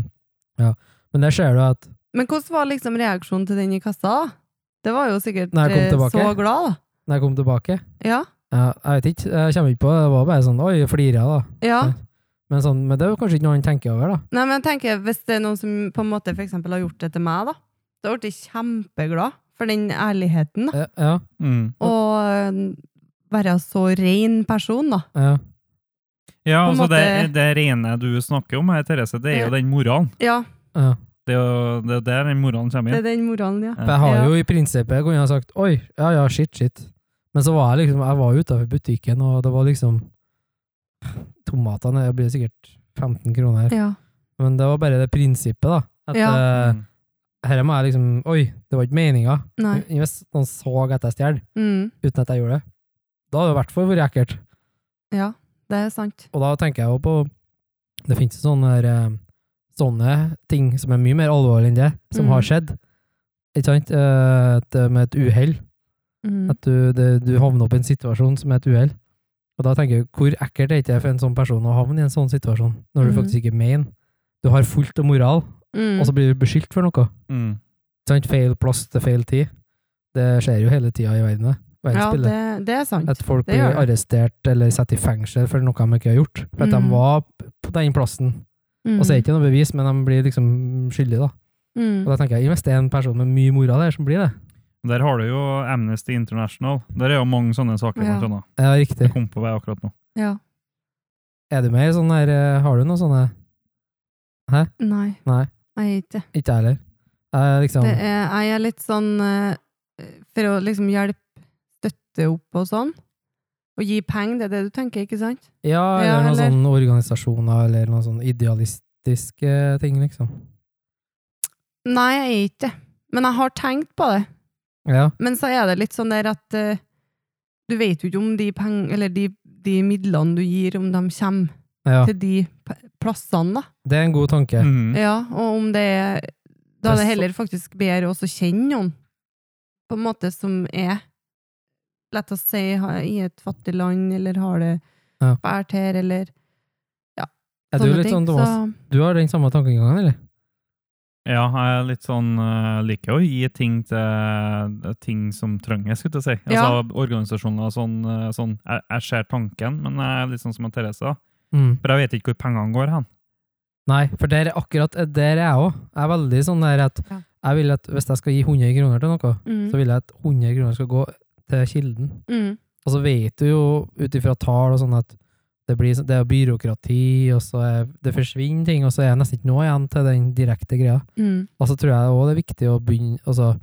A: Ja. Men der ser du at
B: Men hvordan var liksom reaksjonen til den i kassa? da? Det var jo sikkert
A: Når jeg kom
B: eh,
A: tilbake?
B: så glad, da.
A: når jeg kom tilbake.
B: Ja.
A: Ja, jeg vet ikke, jeg kommer ikke på det. Det var bare sånn Oi, jeg flirer, da.
B: ja.
A: Men, sånn, men det er jo kanskje ikke noe han tenker over, da.
B: Nei, men jeg tenker, Hvis det er noen som på en måte for eksempel har gjort det til meg, da, da ble jeg kjempeglad for den ærligheten. da.
A: Ja, ja,
C: Mm.
B: Og øh, være så ren person, da.
A: ja.
C: Ja,
B: På en
C: altså
B: måte-
C: det, det rene du snakker om her, Therese, det er jo den moralen.
B: Ja,
A: ja.
C: Det er jo det er der den moralen kommer
B: det
C: inn.
B: er den moralen, ja.
C: Ja.
A: For jeg har
B: Ja.
A: jo i prinsippet kunne jeg sagt Oi, ja ja, shit, shit. Men så var jeg liksom Jeg var utafor butikken, og det var liksom Tomatene det blir sikkert 15 kroner.
B: Ja.
A: Men det var bare det prinsippet, da. At
B: Ja.
A: eh,
C: Mm.
A: herre må jeg liksom Oi, det var ikke meninga.
B: Nei.
A: Hvis noen så at jeg stjal
B: Mm.
A: uten at jeg gjorde det, da hadde det i hvert fall vært ekkelt.
B: Ja, det er sant.
A: Og da tenker jeg jo på Det finnes jo sånne, her, eh, sånne ting som er mye mer alvorlig enn det, som
B: Mhm.
A: har skjedd. Ikke sant? Eh, et- med et uhell.
B: Mm.
A: At du, det, du havner opp i en situasjon som er et uhell. Og da tenker jeg, hvor ekkelt er det ikke for en sånn person å havne i en sånn situasjon, når du
B: Mhm.
A: faktisk ikke mener. Du har fullt av moral,
B: Mm.
A: og så blir du beskyldt for noe.
C: Mm.
A: Ikke Sant? Feil plass til feil tid. Det skjer jo hele tida i verden. det.
B: ja,
A: Verdensbildet.
B: det, det er sant.
A: At folk
B: Det
A: blir
B: gjør det.
A: arrestert eller satt i fengsel for noe de ikke har gjort. For at
B: Mhm.
A: de var på den plassen.
B: Mm.
A: Og så er det ikke noe bevis, men de blir liksom skyldige, da. Og
B: Mm.
A: da tenker jeg, hvis det er en person med mye moral her, som blir det.
C: Der har du jo Amnesty International. Der er jo mange sånne saker.
B: Ja.
C: blant annet.
A: Ja, riktig.
C: Jeg kom på vei akkurat nå.
B: Ja.
A: Er du med i sånn her eh, Har du noen sånne
B: Nei.
A: Nei.
B: Jeg er ikke det.
A: Ikke jeg heller. Jeg er liksom
B: Det er, jeg er litt sånn eh, For å liksom hjelpe, støtte opp og sånn. Og gi penger, det er det du tenker, ikke sant?
A: Ja,
B: Ja,
A: eller noen
B: eller-
A: sånne organisasjoner, eller noen sånne idealistiske ting, liksom.
B: Nei, jeg er ikke det. Men jeg har tenkt på det.
A: Ja.
B: Men så er det litt sånn der at eh, du vet jo ikke om de peng, eller de, de midlene du gir, om de kommer
A: ja.
B: til de p- plassene, da.
A: Det er en god tanke.
C: Mm.
B: Ja, og om det er Da er det heller faktisk bedre også å kjenne noen, på en måte, som er Lett å si ha- i et fattig land, eller har det
A: Ja.
B: fælt her, eller
A: Er du
B: sånne
A: litt
B: ting.
A: sånn, Thomas? Du har den samme tankegangen, eller?
C: Ja, jeg er litt sånn eh, liker å gi ting til ting som trenger, skulle jeg si.
B: Ja.
C: Altså organisasjoner og sånn. eh, sånn jeg, jeg ser tanken, men jeg er litt sånn som en Therese. da.
A: Mm.
C: For jeg vet ikke hvor pengene går hen.
A: Nei, for der, er akkurat eh, der er jeg òg. Jeg er veldig sånn der at
B: Ja.
A: jeg vil at hvis jeg skal gi 100 kroner til noe,
B: Så, mm,
A: så vil jeg at 100 kroner skal gå til kilden.
B: mm,
A: Og så vet du jo ut ifra tall og sånn at det, blir, sånn- det er byråkrati, og så er, det forsvinner ting, og så er det nesten ikke noe igjen til den direkte greia.
B: mm,
A: Og så tror jeg òg det er viktig å begynne, altså,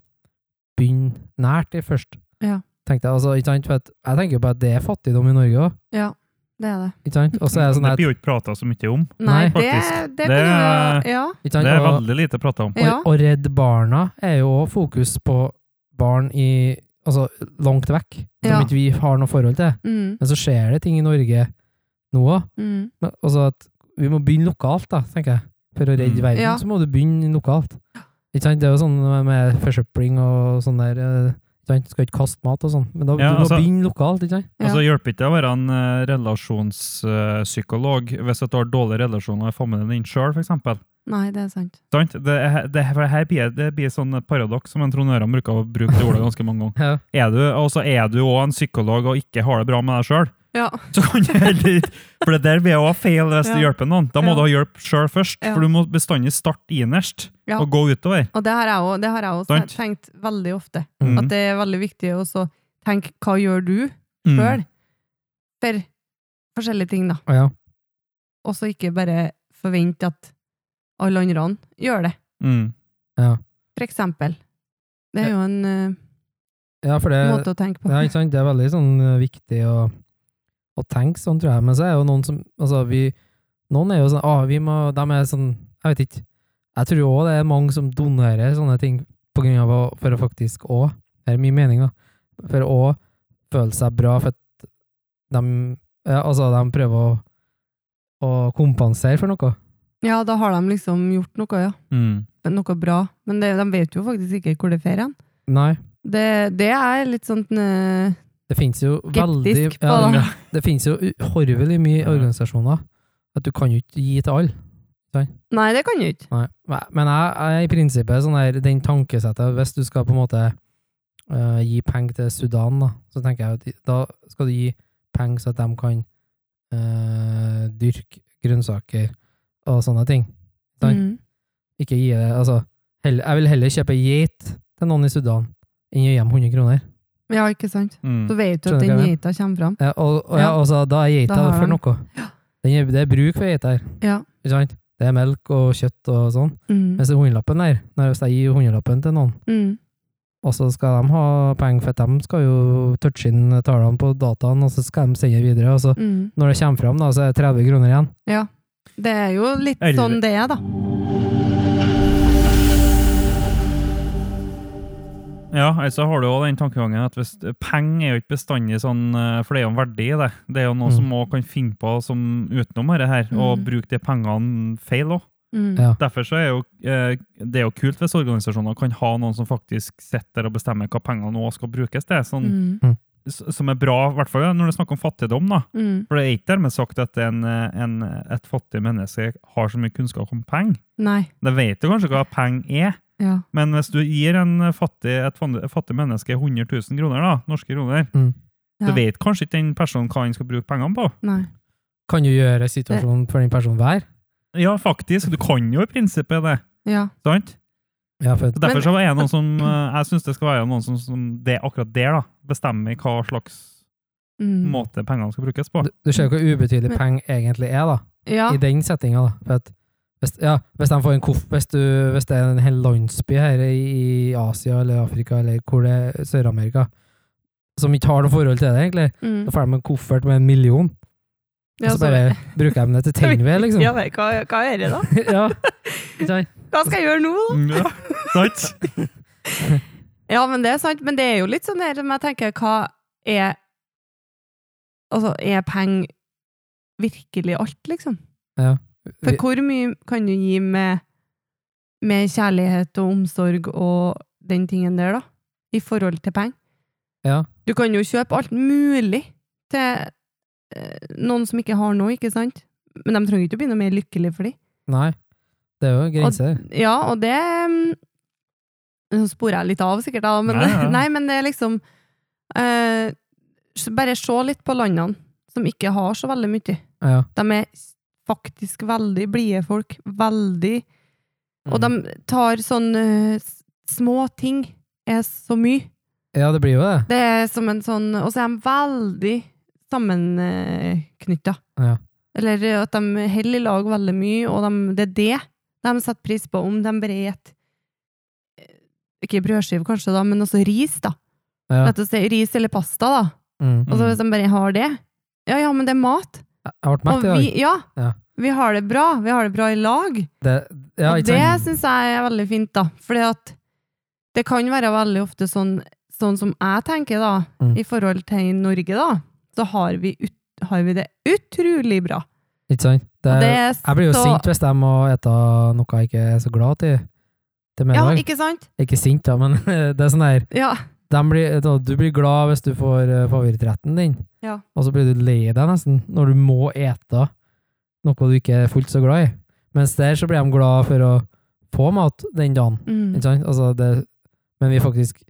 A: begynne nært i først.
B: Ja.
A: Tenkte jeg, altså, ikke sant? For at, jeg tenker jo på at det er fattigdom i Norge òg.
B: ja, det er det.
A: Ikke sant? Og så er det sånn
C: Det
A: at,
C: blir jo ikke prata så mye om.
B: Nei,
A: Nei,
B: det, det
C: faktisk. Det
B: kan jo
C: er-
B: Ja.
A: ikke
C: Det
A: sant?
C: er
A: Og-
C: veldig lite prata om.
B: ja.
A: Og, og Redd Barna er jo òg fokus på barn i Altså langt vekk, som
B: Ja.
A: ikke vi har noe forhold til.
B: Mm,
A: Men så skjer det ting i Norge nå òg.
B: mm.
A: Altså at vi må begynne lokalt, da, tenker jeg. For å redde
C: Mm.
A: verden,
B: Ja.
A: så må du begynne lokalt. Ikke sant? Det er jo sånn med forsøpling og sånn der eh, ikke sant? Du skal ikke kaste mat og sånn, men da,
C: Ja,
A: du må
C: altså-
A: begynne lokalt, ikke sant?
B: Ja.
C: Altså, det hjelper ikke å være en eh, relasjonspsykolog hvis at du har dårlige relasjoner i familien din sjøl, f.eks.
B: Nei, det er sant.
C: Sant? Det, er- det, er- for her blir, det blir sånn et paradoks som en trondørene bruker å bruke det ordet ganske mange ganger. (laughs)
A: Ja.
C: Er du, og så er du òg en psykolog og ikke har det bra med deg sjøl,
B: Ja.
C: så kan du heller ikke For det der blir òg feil hvis du
B: Ja.
C: hjelper noen. Da må
B: Ja.
C: du ha hjelp sjøl først,
B: Ja.
C: for du må bestandig starte innerst
B: Ja.
C: og gå utover.
B: Og det har jeg også- det har jeg også
C: Sant.
B: tenkt veldig ofte.
A: Mm.
B: At det er veldig viktig å så tenke hva gjør du
C: Mm.
B: sjøl for forskjellige ting, da.
A: Og ja.
B: Og så ikke bare forvente at alle andre gjør det.
C: Mm.
B: For eksempel. Det er jo en eh,
A: ja, for det
B: måte å tenke på.
A: Eh, Ja, ikke sant? Det er veldig sånn eh, viktig å, å tenke sånn, tror jeg. Men så er jo noen som Altså, vi Noen er jo sånn ah, vi må De er sånn Jeg vet ikke. Jeg tror òg det er mange som donerer sånne ting på grunn av å, for å faktisk òg Det er min mening, da. For å føle seg bra for at de ja, Altså, de prøver å, å kompensere for noe.
B: Ja, da har de liksom gjort noe, ja.
C: Mm.
B: Noe bra. Men det, de vet jo faktisk ikke hvor det fer hen.
A: Nei.
B: Det, det er litt sånn eh,
A: Det finnes jo veldig
B: skeptisk på,
A: ja,
B: da.
A: det, det finnes jo horvelig mye
C: Ja.
A: organisasjoner at du kan jo ikke gi til alle.
B: Nei, det kan jo ikke.
A: Nei. Men jeg, jeg er i prinsippet sånn der, den tankesettet, hvis du skal på en måte eh, gi penger til Sudan, da, så tenker jeg at de- da skal du gi penger så at de kan eh, dyrke grønnsaker og sånne ting. Sant.
B: Mm.
A: Ikke gi det, altså, heller, jeg vil heller kjøpe geit til noen i Sudan enn å gi dem 100 kroner.
B: Ja, ikke sant? Så
C: Mm.
B: vet du
A: Skjønner hva
B: at den
A: jeg mener.
B: geita kommer fram.
A: Ja, og, og, ja,
B: Ja.
A: altså, da er geita
B: Da har
A: for
B: de-
A: noe. Den er, det er bruk for geita her.
B: Ja.
A: Ikke sant? Det er melk og kjøtt og sånn.
B: Mm.
A: Mens hundrelappen der, når hvis jeg gir hundrelappen til noen,
B: Mm.
A: og så skal de ha penger, for at de skal jo touche inn tallene på dataen, og så skal de sende det videre, og så
B: Mm.
A: når det kommer fram, da, så er det 30 kroner igjen.
B: Ja. Det er jo litt
C: Eller-
B: sånn det er, da.
C: Ja, altså har du jo den tankegangen at hvis, penger er jo ikke bestandig sånn, eh, for det er jo en verdi i det. Det er jo noe
A: Mm.
C: som også kan finne på som utenom dette her, og
B: Mm.
C: bruke de pengene feil òg.
B: Mm.
A: Ja.
C: Derfor så er jo, eh, det er jo kult hvis organisasjoner kan ha noen som faktisk sitter og bestemmer hva pengene nå skal brukes til, sånn,
B: Mm.
C: s- som er bra, i hvert fall når det er snakk om fattigdom. da.
B: Mm.
C: For det er ikke dermed sagt at en, eh, en, et fattig menneske har så mye kunnskap om penger.
B: Nei.
C: Det vet du kanskje hva penger er,
B: Ja.
C: men hvis du gir en fattig, et fan- et fattig menneske 100 000 kroner, da, norske kroner,
A: Mm.
B: Ja.
C: du vet kanskje ikke den personen hva han skal bruke pengene på.
B: Nei.
A: Kan jo gjøre situasjonen for den personen hver.
C: Ja, faktisk. Du kan jo i prinsippet det.
B: Ja.
C: sant?
A: Ja, for,
C: Så Derfor
B: Men-
C: så er det noen som, eh, jeg synes det skal være noen som, som det er akkurat der da, bestemmer hva slags
B: Mm.
C: måte pengene skal brukes på.
A: du, du ser jo hvor ubetydelig
B: Men-
A: penger egentlig er, da.
B: Ja.
A: i den settinga, da. For at hvis, ja, hvis, de får en koff, hvis, du, hvis det er en hel landsby her i Asia eller Afrika eller hvor det er Sør-Amerika, som ikke har noe forhold til det, egentlig,
B: Mm.
A: så får de en koffert med en million, og
B: Ja,
A: så bare bruker de det til tennved, liksom.
B: (laughs) Ja, men hva, hva er det, da?
A: (laughs) ja.
B: (laughs)
A: Ikke sant?
B: Hva skal jeg gjøre nå, da?
C: Mm, Ja, sant?
B: Ja, men det er sant. Men det er jo litt sånn der som jeg tenker, hva er Altså, er penger virkelig alt, liksom?
A: Ja.
B: For
A: Vi-
B: hvor mye kan du gi med, med kjærlighet og omsorg og den tingen der, da? I forhold til penger?
A: Ja.
B: Du kan jo kjøpe alt mulig til eh, noen som ikke har noe, ikke sant? Men de trenger ikke å bli noe mer lykkelig for de.
A: Nei. Det er jo grenser.
B: Ja, og det mm, Nå sporer jeg litt av, sikkert, da, men,
C: Nei, ja.
B: (laughs) nei, men det er liksom eh, Bare se litt på landene som ikke har så veldig mye.
A: Ja.
B: De er faktisk veldig blide folk. Veldig. Og
A: Mm.
B: de tar sånn eh, s- Små ting er så mye.
A: ja, det blir jo det.
B: Det er som en sånn Og så er de veldig sammenknytta.
A: Ja.
B: Eller at de holder i lag veldig mye, og de, det er det de setter pris på. Om de bare spiser Ikke brødskive, kanskje, da, men også ris, da.
A: Ja.
B: Rett og slett ris eller pasta, da.
A: Mm.
B: Og så
C: Mm.
B: hvis de bare har det Ja, ja, men det er mat.
A: Jeg jeg ble
B: Og
A: mett i dag.
B: vi, ja,
A: Ja.
B: vi har det bra. Vi har det bra i lag.
A: Det- Ja,
B: og
A: ikke
B: det
A: sant?
B: syns jeg er veldig fint, da. Fordi at det kan være veldig ofte sånn, sånn som jeg tenker, da,
A: Mm.
B: i forhold til Norge, da, så har vi, ut, har vi det utrolig bra.
A: Ikke sant? Det,
B: Og det
A: er-
B: er
A: jeg blir jo
B: så-
A: sint hvis de må ete noe jeg ikke er så glad til, til
B: Ja,
A: middag.
B: ikke sant?
A: Ikke sint, da, men (laughs) det er sånn her
B: Ja.
A: de blir, da, Du blir glad hvis du får eh, favorittretten din,
B: Ja.
A: og så blir du lei deg nesten når du må ete noe du ikke er fullt så glad i. Mens der så blir de glad for å få mat den dagen.
B: Mm.
A: Ikke sant? Altså det, men vi faktisk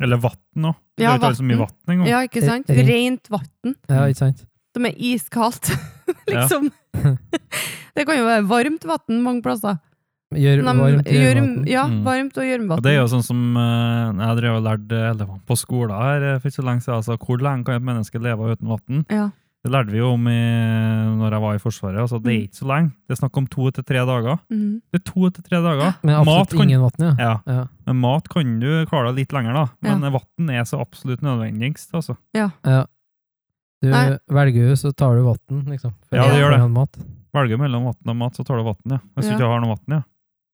C: Eller vatten også. Det er
B: Ja,
C: jo ikke alle så mye
B: vatten.
C: vatten engang.
B: ja, ikke sant?
A: Ring.
B: Rent vann
A: Ja, ikke sant?
B: som er iskaldt, (laughs) liksom. (laughs) det kan jo være varmt vann mange plasser.
A: Gjør
B: Men de-
A: varmt i
B: gjørm-
A: maten.
B: ja,
C: Mm.
B: varmt og
C: Og det er jo
B: gjørmevann.
C: sånn som eh, jeg drev og lærte elevene på skolen her eh, for ikke så lenge siden. Altså, hvor lenge kan et menneske leve uten vann?
B: Ja.
C: Det lærte vi jo om i, når jeg var i Forsvaret. Altså, det er ikke så lenge. Det er snakk om to til tre dager.
B: Mm.
C: Det er to til tre dager.
A: Men absolutt
C: kan,
A: ingen vann, ja.
C: ja,
A: ja.
C: men mat kan du klare deg litt lenger, da. Men vann er så absolutt nødvendigst. Altså.
A: ja. Du
B: Nei.
A: velger jo, så tar du vann, liksom.
C: Ja,
B: det
C: gjør det.
A: foran Mat.
C: Velger mellom vann og mat, så tar du vann, ja. Hvis
B: Ja.
C: du ikke har noe vann, ja.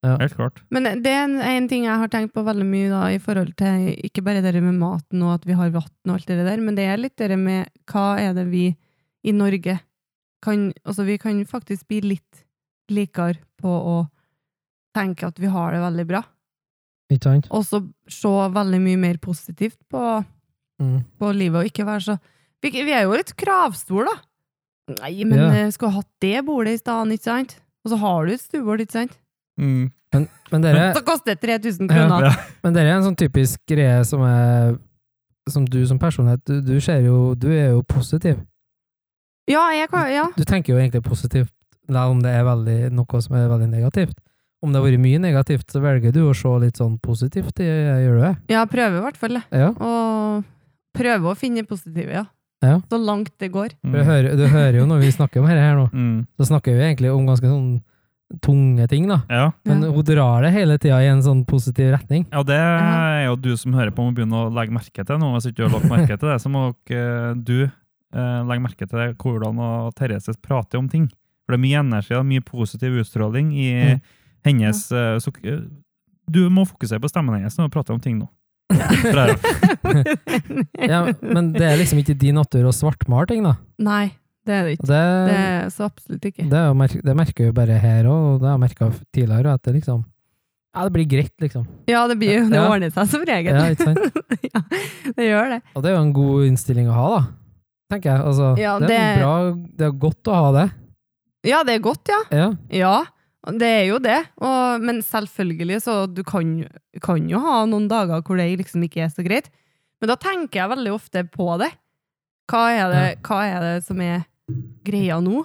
A: Ja.
C: Helt klart.
B: Men det er en, en ting jeg har tenkt på veldig mye da, i forhold til ikke bare det der med maten og at vi har vann og alt det der, men det er litt det der med hva er det vi i Norge kan Altså, vi kan faktisk bli litt likere på å tenke at vi har det veldig bra.
A: Ikke sant?
B: Og så se veldig mye mer positivt på,
A: Mm.
B: på livet, og ikke være så Vi, vi er jo litt kravstore, da. Nei, men
A: Ja.
B: eh, skulle ha hatt det bordet i stedet, ikke sant? Og så har du et stuebord, ikke sant?
C: Mm.
A: Men, men, dere,
B: Så koster det 3000
A: Ja,
B: kroner.
C: ja.
A: men dere er en sånn typisk greie som er Som du som personlighet Du, du ser jo Du er jo positiv.
B: Ja, jeg kan, ja.
A: Du tenker jo egentlig positivt, selv om det er veldig, noe som er veldig negativt. Om det har vært mye negativt, så velger du å se litt sånn positivt i gjør du det?
B: ja, prøver i hvert fall. det.
A: Ja.
B: Og prøver å finne positive, ja.
A: Ja.
B: Så langt det går.
A: For Du, hører, du hører jo når vi snakker om dette her nå,
C: Mm.
A: så snakker vi egentlig om ganske sånn tunge ting, da.
C: Ja.
A: Men
B: Ja.
A: hun drar det hele tida i en sånn positiv retning.
C: ja, det
B: Mhm.
C: er jo du som hører på, må begynne å legge merke til nå. Hvis ikke du har lagt merke til det, så må dere, du eh, legge merke til hvordan og Therese prater om ting. For det er mye energi og mye positiv utstråling i
A: Mm.
C: hennes eh, så, eh, Du må fokusere på stemmen hennes når du prater om ting nå. Bra.
A: (laughs)
B: (laughs)
A: Ja, men det er liksom ikke din natur å svartmale ting, da.
B: Nei, det er det
A: Og
B: ikke.
A: det,
B: Det
A: det,
B: er så absolutt ikke.
A: er jo merk, det merker jeg jo bare her òg, og det har jeg merka tidligere, at det liksom Ja, det blir greit, liksom.
B: Ja, det, blir, jo- det
A: Ja.
B: ordner seg som regel.
A: Ja, ikke sant?
B: (laughs) ja, det gjør det.
A: Og det er jo en god innstilling å ha, da. Tenker jeg. Altså,
B: Ja,
A: det, er
B: det-
A: bra, det er godt å ha det.
B: Ja, det er godt, ja.
A: Ja.
B: Ja, det er jo det. Og, men selvfølgelig, så du kan, kan jo ha noen dager hvor det liksom ikke er så greit. Men da tenker jeg veldig ofte på det. Hva er det, hva er det som er greia nå?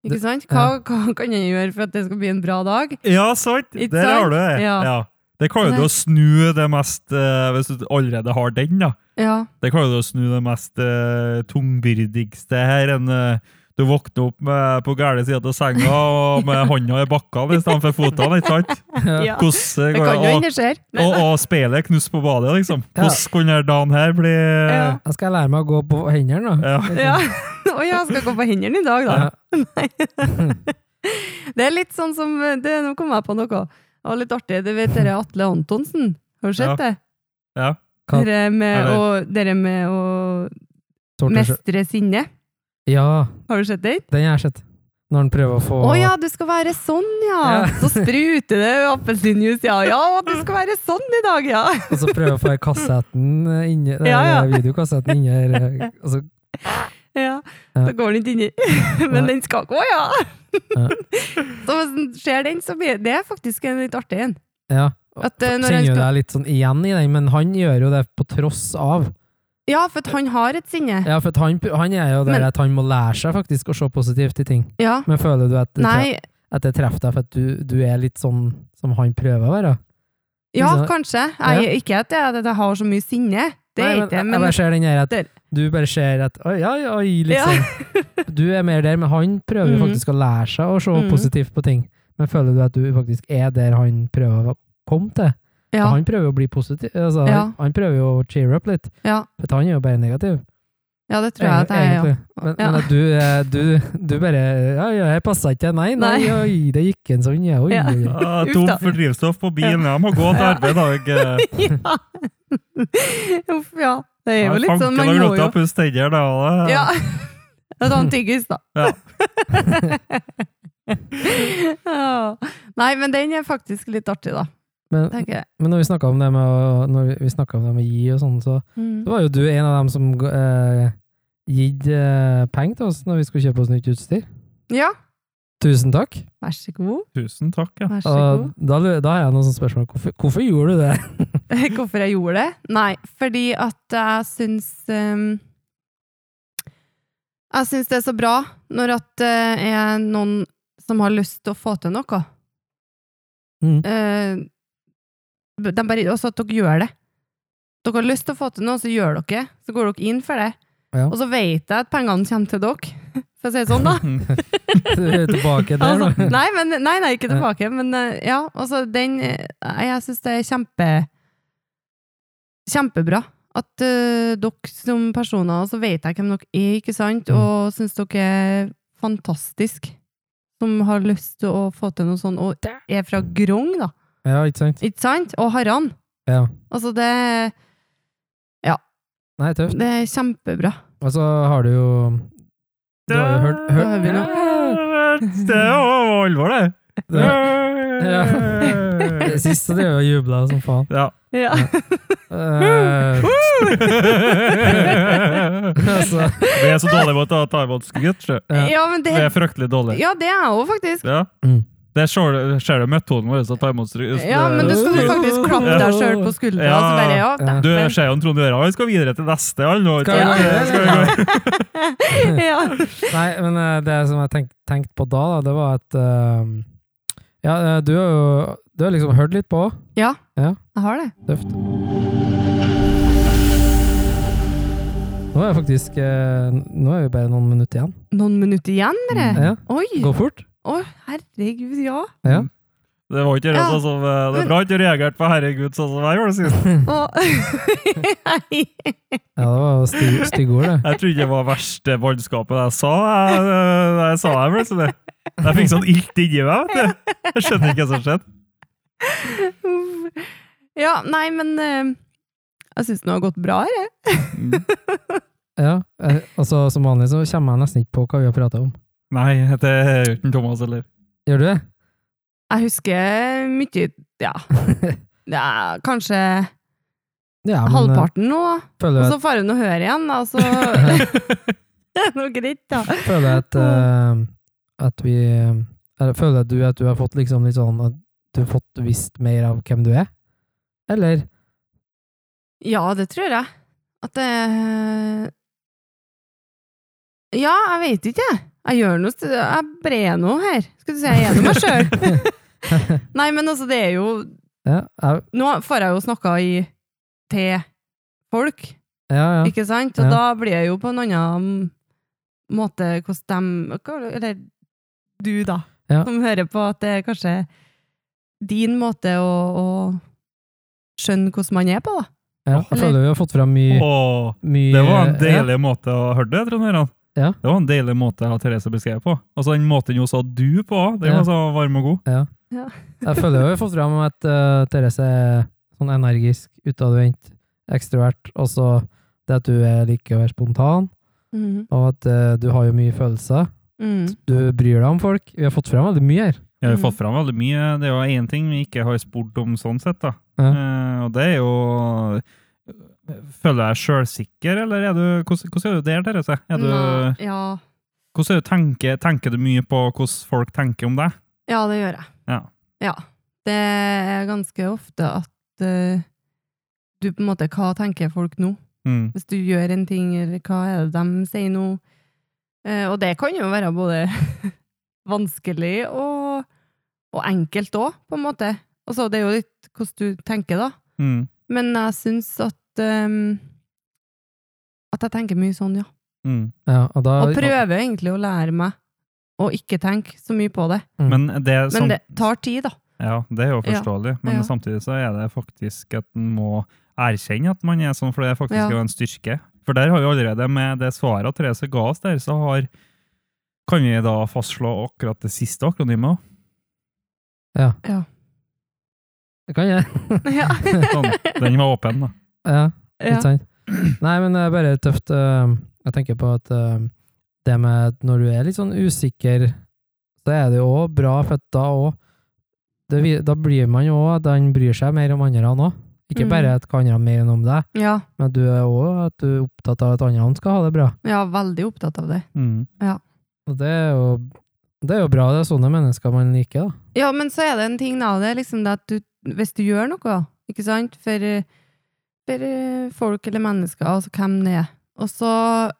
B: Ikke
A: Det-
B: sant? Hva, hva kan jeg gjøre for at det skal bli en bra dag?
C: Ja, sant!
B: Ikke
C: Der har
B: sant?
C: du det.
B: Ja.
C: Ja. Det klarer du å snu det mest eh, Hvis du allerede har den, da.
B: Ja,
C: Det klarer du å snu det mest eh, tungbyrdigste her. enn eh, du våkner opp med, på gærne sida av senga og med hånda i bakkene istedenfor fotene. ikke sant?
B: (laughs) ja.
C: Hvordan
B: Det
C: går
B: kan jo
C: det?
B: hende skjer.
C: Og, og, og speilet knust på badet, liksom.
A: Ja.
C: Hvordan kunne denne dagen her bli eh,
B: Ja.
A: Da skal jeg lære meg å gå på hendene, da.
C: Ja.
B: Ja. (laughs) Å ja, skal jeg gå på hendene i dag, da. (laughs) Det er litt sånn som det, Nå kom jeg på noe. Det var litt artig. Du vet dere Atle Antonsen? Har du sett
C: Ja.
B: det?
C: Ja.
A: Hva-
B: Dere med,
C: Eller-
B: å, dere med å
A: Tortur-
B: mestre sinnet.
A: Ja,
B: Har du sett den?
A: den har jeg sett. Når han prøver å få
B: Å ja, du skal være sånn, ja!
A: Ja.
B: Så spruter det appelsinjuice, ja. Ja, du skal være sånn i dag, ja! (laughs)
A: Og så altså prøver å få kassetten eh, inni det
B: Ja, ja.
A: er videokassetten inni her. eh, Altså,
B: ja.
A: Ja.
B: Da går den ikke inni. (laughs) Men
A: Nei.
B: den skal ikke, å ja!
A: Ja.
B: (laughs) Så hvis den skjer den, så blir det er faktisk en litt artig en.
A: ja.
B: At, eh, når han
A: Kjenner jo
B: skal-
A: deg litt sånn igjen i den, men han gjør jo det på tross av.
B: Ja, for at han har et sinne.
A: Ja, for at han, han er jo der
B: Men-
A: at han må lære seg faktisk å se positivt i ting.
B: Ja.
A: Men føler du at det,
B: Nei,
A: at det treffer deg for at du, du er litt sånn som han prøver å være?
B: ja,
A: Liksom-
B: kanskje.
A: Ja.
B: Jeg, ikke at jeg, at jeg har så mye sinne. Det er
A: Nei,
B: ikke det,
A: jeg
B: men
A: bare ser den her at
B: Der.
A: du bare ser at oi, oi, oi, liksom. du er mer der, men han prøver jo
B: Mhm.
A: faktisk å lære seg å se
B: Mhm.
A: positivt på ting. Men føler du at du faktisk er der han prøver å komme til?
B: ja,
A: Og Han prøver jo å bli positiv, altså,
B: Ja.
A: han, han prøver jo å cheer up litt,
B: ja,
A: for han er jo bare negativ.
B: ja, det tror jeg at jeg er. Ja. (laughs)
A: egentlig. Men,
B: Ja.
A: men at du, eh, du, du bare Ja, ja, jeg passa ikke, nei, nei,
B: Nei.
A: oi, det gikk en sånn, ja, oi.
B: Ja.
A: oi.
C: Ah,
B: Uff
C: Tom
B: da.
C: for drivstoff på bilen. Jeg må gå til arbeid i dag. eh.
B: Ja. Uff, ja. (laughs) Det er
C: Jeg
B: jo
C: har
B: litt sånn,
C: fanken
B: man
C: og
B: må
C: grått
B: jo (laughs)
C: av puss tenner, da. og det-
B: Ja. Da tar han tyggis, da.
C: Ja.
B: (laughs) Ja. Nei, men den er faktisk litt artig, da.
A: Men,
B: Tenker jeg.
A: men når vi snakka om det med å- når vi snakket om det med å gi og sånn, så
B: Mm.
A: Det var jo du en av dem som eh, gitt eh, penger til oss når vi skulle kjøpe oss nytt utstyr.
B: Ja,
A: Tusen takk.
B: vær så god.
C: Tusen takk, ja.
B: Vær så god.
A: Og da, lu- da har jeg noen sånne spørsmål. Hvorfor, hvorfor gjorde du det? (laughs)
B: (laughs) Hvorfor jeg gjorde det? Nei, fordi at jeg syns ehm, Jeg syns det er så bra når at det er noen som har lyst til å få til noe.
A: Mm.
B: Eh, de bare, også at dere gjør det. Dere har lyst til å få til noe, så gjør dere det. Så går dere inn for det.
A: Ja.
B: Og så vet jeg at pengene kommer til dere, (laughs) for å si det
C: (laughs)
B: sånn, da.
A: Du er Tilbake der, nå.
B: Altså, nei, men, nei, nei, ikke tilbake, men eh, ja, altså den eh, Jeg syns det er kjempe Kjempebra at eh, dere som personer, så vet jeg hvem dere er, ikke sant,
A: Mm.
B: og syns dere er fantastisk som har lyst til å få til noe sånt, og er fra Grong, da,
A: Ja, ikke sant?
B: ikke sant? Og Haran.
A: Ja.
B: Altså, det,
A: Nei, tøft.
B: det er kjempebra.
A: Og så har du jo Du har jo hørt,
B: Da har
A: hørt
B: vi noe.
C: Det er jo alvor, det.
A: det, det siste det er jo å juble som faen.
C: Ja. (laughs)
A: Eh, (laughs)
B: Ja.
A: altså,
C: Vi er så dårlige på å ta- ta imot skryt, sjø.
A: Ja.
B: (laughs) ja, men det
C: Vi er fryktelig dårlige.
B: Ja, det er jeg òg, faktisk.
C: Ja.
A: mm.
C: Det ser du- ser du metoden vår til å ta imot stru-
B: Ja, men du skal jo faktisk klappe deg sjøl på skuldra.
C: Ja.
B: og så bare, ja,
A: Ja.
C: Du
B: dæven.
C: ser jo Trond Gjøran, han skal videre til neste. Han, nå,
A: Skal
B: vi gå
C: Ja,
A: videre?
C: skal vi gå?
B: ja.
A: Nei, men eh, det som jeg tenkte tenkt på da, da, det var at eh, Ja, eh, du har jo du har liksom hørt litt på òg.
B: ja,
A: Ja,
B: jeg har det.
A: tøft. Nå er jeg faktisk eh, Nå er vi bare noen minutter igjen.
B: Noen minutter igjen, bare?
A: Mm, Ja,
B: Oi!
A: Gå fort.
B: Å, herregud, ja.
A: Ja.
C: Det var ikke det, sånn som, eh, det er bra ikke reagert på 'herregud' sånn som jeg gjorde sist.
A: Mm.
B: (laughs) Og-
A: Ja, det var stygg stygg ord, det.
C: Jeg trodde det var verste vannskapet jeg sa. Jeg, jeg, jeg sa det plutselig. Jeg fikk sånn ilt inni meg. vet du. Jeg skjønner ikke hva som skjedde.
B: ja, nei, men eh, jeg syns det har gått bra her, jeg.
A: Ja, eh, altså Som vanlig så kommer jeg nesten ikke på hva vi har prata om.
C: Nei, det er uten Thomas heller.
A: Gjør du det?
B: Jeg husker mye
A: (laughs)
B: Ja, ja kanskje
A: Ja, men, eh,
B: halvparten nå. Og
A: Føler jeg
B: så får jeg nå høre igjen, da. Så (laughs) det
A: (laughs)
B: er nå greit, da.
A: føler jeg
B: (laughs)
A: at, eh, at vi eller, Føler du at du har fått liksom litt sånn at du har fått visst mer av hvem du er? Eller?
B: Ja, det tror jeg. At det Ja, jeg vet ikke, jeg. Jeg gjør noe st- Jeg brer noe her. Skal du si jeg er nå meg sjøl?
A: (laughs)
B: Nei, men altså, det er jo
A: Ja, jeg,
B: Nå får jeg jo snakka i til folk,
A: ja, ja.
B: ikke sant? Og
A: Ja.
B: da blir jeg jo på en annen måte hvordan de Eller du, da,
A: Ja.
B: som hører på, at det er kanskje din måte å, å skjønne hvordan man er på, da.
A: ja. Jeg føler vi har fått fram mye,
C: Åh,
A: mye
C: det var en
A: ja.
C: deilig måte å høre det, Trond Gjøran.
A: Ja.
C: Det var en deilig måte å ha Therese beskrevet på. Altså den måten hun sa du på, den
A: Ja.
C: var så varm og god.
A: Jeg føler vi har fått fram at eh, Therese er sånn energisk, utadvendt, ekstrovert, og så det at du er- liker å være spontan,
B: Mhm.
A: og at eh, du har jo mye følelser.
B: Mhm.
A: Du bryr deg om folk. Vi har fått fram veldig mye her.
C: Jeg har
B: Mm.
C: jo fått fram veldig mye. Det er jo én ting vi ikke har spurt om sånn sett, da.
A: Ja.
C: Eh, og det er jo Føler jeg sjølsikker, eller er du Hvordan, hvordan er du der, Therese? Er du,
B: Nei, ja.
C: hvordan er du tenker, tenker du mye på hvordan folk tenker om deg?
B: ja, det gjør jeg.
C: Ja.
B: Ja. Det er ganske ofte at eh, du på en måte Hva tenker folk nå?
C: Mm.
B: Hvis du gjør en ting, eller hva er det de sier nå? Eh, og det kan jo være både (laughs) vanskelig og, og enkelt òg, på en måte. Altså, det er jo litt hvordan du tenker, da.
C: Mm.
B: Men jeg syns at eh, At jeg tenker mye sånn, ja.
C: Mm.
A: Ja, og da,
B: Og prøver egentlig å lære meg å ikke tenke så mye på det.
C: Men det
B: Men
C: som
A: Sånn.
B: det tar tid,
A: (laughs)
B: da.
C: Ja, det er jo forståelig, men
B: ja.
C: samtidig så er det faktisk at en må erkjenne at man er sånn, for det er faktisk
B: Ja.
C: jo en styrke. For der har vi allerede, med det svaret Therese ga oss der, så har, kan vi da fastslå akkurat det siste akronymet. også.
A: Det kan jeg.
B: Ja.
C: Sånn, den var åpen, da.
A: Ja,
B: Ja.
A: ikke sant? Nei, men det er bare tøft. eh, Jeg tenker på at eh, det med at når du er litt sånn usikker, så er det jo også bra, for at da òg Da blir man jo òg at han bryr seg mer om andre òg. Ikke
B: Mm.
A: bare at hva andre mer enn om deg,
B: ja.
A: men at du er òg at du er opptatt av at andre skal ha det bra.
B: Ja, veldig opptatt av det.
C: Mm.
A: Og det er jo, det er jo bra. Det er sånne mennesker man liker, da.
B: Ja, men så er det en ting da, det er liksom det at du, hvis du gjør noe, ikke sant, for, eh, for eh, folk eller mennesker, altså hvem det er, og så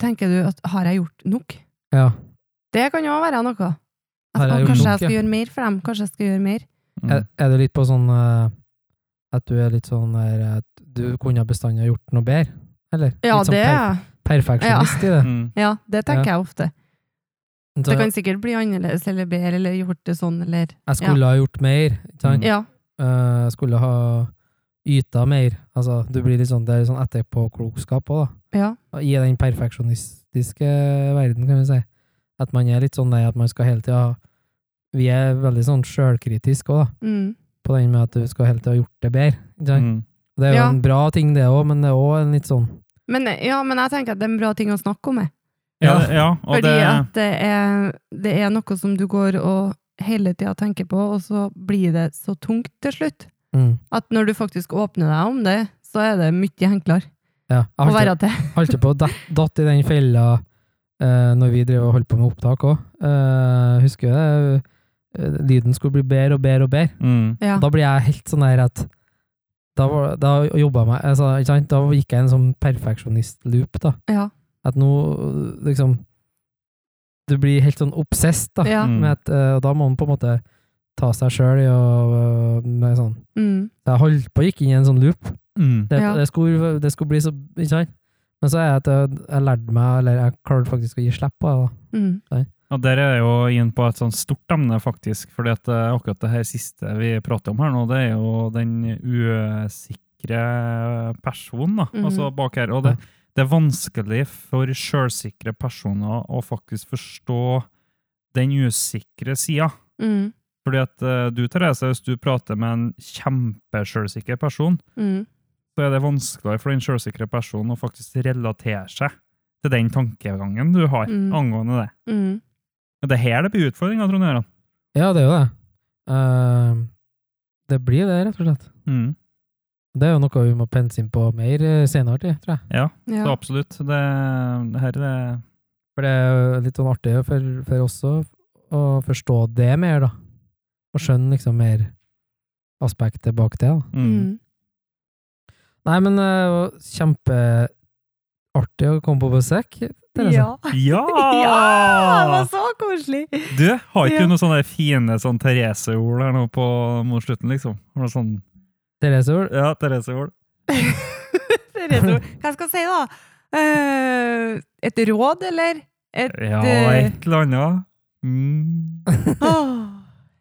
B: tenker du at har jeg gjort nok?
A: Ja.
B: Det kan jo være noe. At,
A: Har jeg
B: «Å,
A: gjort
B: kanskje
A: nok,
B: jeg skal
A: ja?»
B: gjøre mer for dem, kanskje jeg skal gjøre mer.
C: Mm.
A: Er, er du litt på sånn eh, At du er litt sånn der at du kunne bestandig ha gjort noe bedre? Eller?
B: Ja,
A: litt sånn
B: det,
A: perf- perfeksjonist i det.
C: Mm.
B: ja, det tenker jeg ofte.
A: Så,
B: Det kan sikkert bli annerledes eller bedre, eller gjort det sånn, eller...
A: jeg skulle ha gjort mer. Ikke sant?
B: Ja,
A: Eh, jeg skulle ha yta mer. Altså, du blir litt sånn, det er litt sånn etterpåklokskap òg, da.
B: ja,
A: I den perfeksjonistiske verden, kan vi si. At man er litt sånn der at man skal hele tida Vi er veldig sånn sjølkritiske òg, da.
B: mm,
A: På den med at du skal hele tida ha gjort det bedre. Ikke sant?
C: Mm.
A: Og Det er jo
B: Ja.
A: en bra ting, det òg, men det er òg en litt sånn
B: men, ja, men jeg tenker at det er en bra ting å snakke om, jeg.
C: Ja, det- ja, og
B: Fordi
C: det,
B: at det er, det er noe som du går og hele tida tenker på, og så blir det så tungt til slutt.
A: mm.
B: At når du faktisk åpner deg om det, så er det mye enklere
A: Ja.
B: å
A: Jeg holdt-
B: være til.
A: holdt på å dat- datt i den fella eh, når vi drev og holdt på med opptak òg. Eh, husker du det? eh, lyden skulle bli bedre og bedre og bedre.
C: Mm.
B: Ja.
A: Da blir jeg helt sånn der at Da, var- da jobba jeg meg altså, ikke sant? Da gikk jeg i en sånn perfeksjonist-loop, da.
B: Ja.
A: At nå liksom Du blir helt sånn obsess, da.
B: ja.
C: Mm.
A: Med at, eh, og da må man på en måte ta seg sjøl i å eh, med sånn
B: Mm.
A: Jeg holdt på å gikk inn i en sånn loop.
C: Mm.
A: Det,
B: Ja.
A: det, skulle, det skulle bli så Ikke sant? Men så er jeg at jeg, jeg lærte meg, eller jeg klarte faktisk å gi slipp på det. da.
B: Mm.
C: Og der er jeg jo inn på et sånt stort emne, faktisk. fordi at eh, akkurat det her siste vi prater om her nå, det er jo den usikre personen, da.
B: Mhm.
C: Altså bak her. Og det, det er vanskelig for sjølsikre personer å faktisk forstå den usikre sida.
B: Mm.
C: Fordi at eh, du, Therese, hvis du prater med en kjempesjølsikker person,
B: Mm.
C: så er det vanskeligere for den sjølsikre personen å faktisk relatere seg til den tankegangen du har
B: Mhm.
C: angående det.
B: Mm.
C: Men det er her det blir utfordringa, Trond Gøran.
A: Ja, det er jo det. Eh, det blir det, rett og slett.
C: Mm.
A: Det er jo noe vi må pense inn på mer eh, senere, tid, tror jeg.
C: Ja, så
B: Ja.
C: absolutt. Det, det her er
A: For det er jo litt sånn artig for, for oss å, å forstå det mer, da. Og skjønne liksom mer aspektet bak det. da.
C: mm.
B: Mm.
A: Nei, men uh, kjempeartig å komme på besøk. Therese.
B: Ja.
C: (laughs) Ja!
B: (laughs) ja! Det var så koselig!
C: Du, har ikke
B: Ja.
C: du noen sånne fine sånn Therese-ord her nå på, mot slutten, liksom? Har du Noe sånn,
A: Therese Ol.
C: ja, Therese-ord.
B: Therese, Hva skal jeg si, da? Eh, et råd, eller? Et
C: Ja,
B: eh,
C: et eller annet. Mm.
B: åh.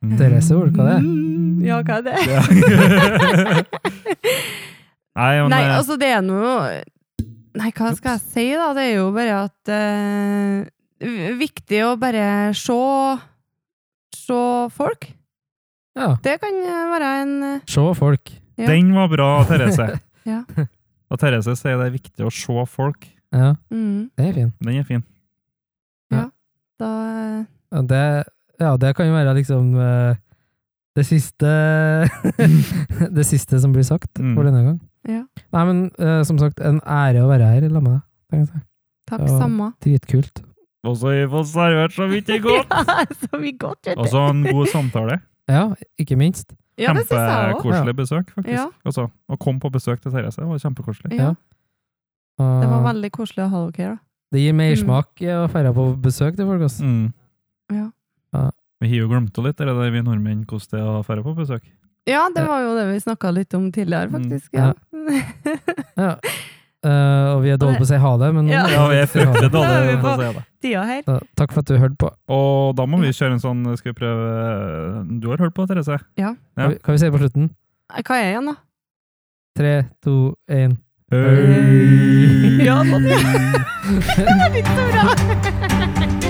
C: Mm.
A: Therese-ord, hva det er?
B: Mm, Ja, hva er det?
C: Ja. (laughs) Nei, men,
B: Nei,
C: eh,
B: altså, det er noe Nei, hva skal jeg si, da? Det er jo bare at eh, v- Viktig å bare se Se folk.
A: Ja.
B: Det kan eh, være en eh,
A: Se folk.
B: ja.
C: den var bra, Therese. (laughs)
B: Ja.
C: Og Therese sier det er viktig å se folk.
A: Ja,
B: mm,
A: det er fint.
C: Den er fin.
B: Da eh,
A: Ja, Det, ja, det kan jo være liksom eh, det siste (laughs) Det siste som blir sagt
C: Mm.
A: for denne gang.
B: Ja.
A: Nei, men eh, som sagt, en ære å være her sammen med deg. kan jeg si.
B: Takk,
A: Ja.
B: samme.
A: Dritkult.
C: Og så har vi fått servert så vidt i (laughs) går.
B: (laughs) Ja, så mye godt, vet
C: Og
B: du.
C: så en god samtale.
A: Ja, ikke minst.
B: Ja, det synes jeg òg.
C: Kjempekoselig besøk, faktisk.
B: Ja.
C: Altså, å komme på besøk til Therese var kjempekoselig.
B: Ja,
A: Og
B: det var Mm. veldig koselig å ha dere her, da.
A: det gir mersmak i å dra på besøk til folk. altså. ass.
C: Mm.
B: Ja.
A: Ja.
C: Vi har jo glemt det litt, er det det vi nordmenn hvordan det er å dra på besøk?
B: Ja, det var jo det vi snakka litt om tidligere,
C: Mm.
B: faktisk. Ja. (laughs)
A: Ja. Eh, og vi er dårlige på å si ha det, men
B: Ja.
C: (laughs) Ja, vi er fryktelig dårlige på å si det.
B: Tida her.
A: Så, takk for at du hørte på.
C: Og da må vi kjøre en sånn Skal vi prøve Du har hørt på, Therese? Ja.
A: Kan vi- Kan vi si det på slutten?
B: Hva er
C: (laughs)
B: igjen, da? (laughs)
A: Tre, to, én.
B: Ja, sånn, ja. Det er litt så bra!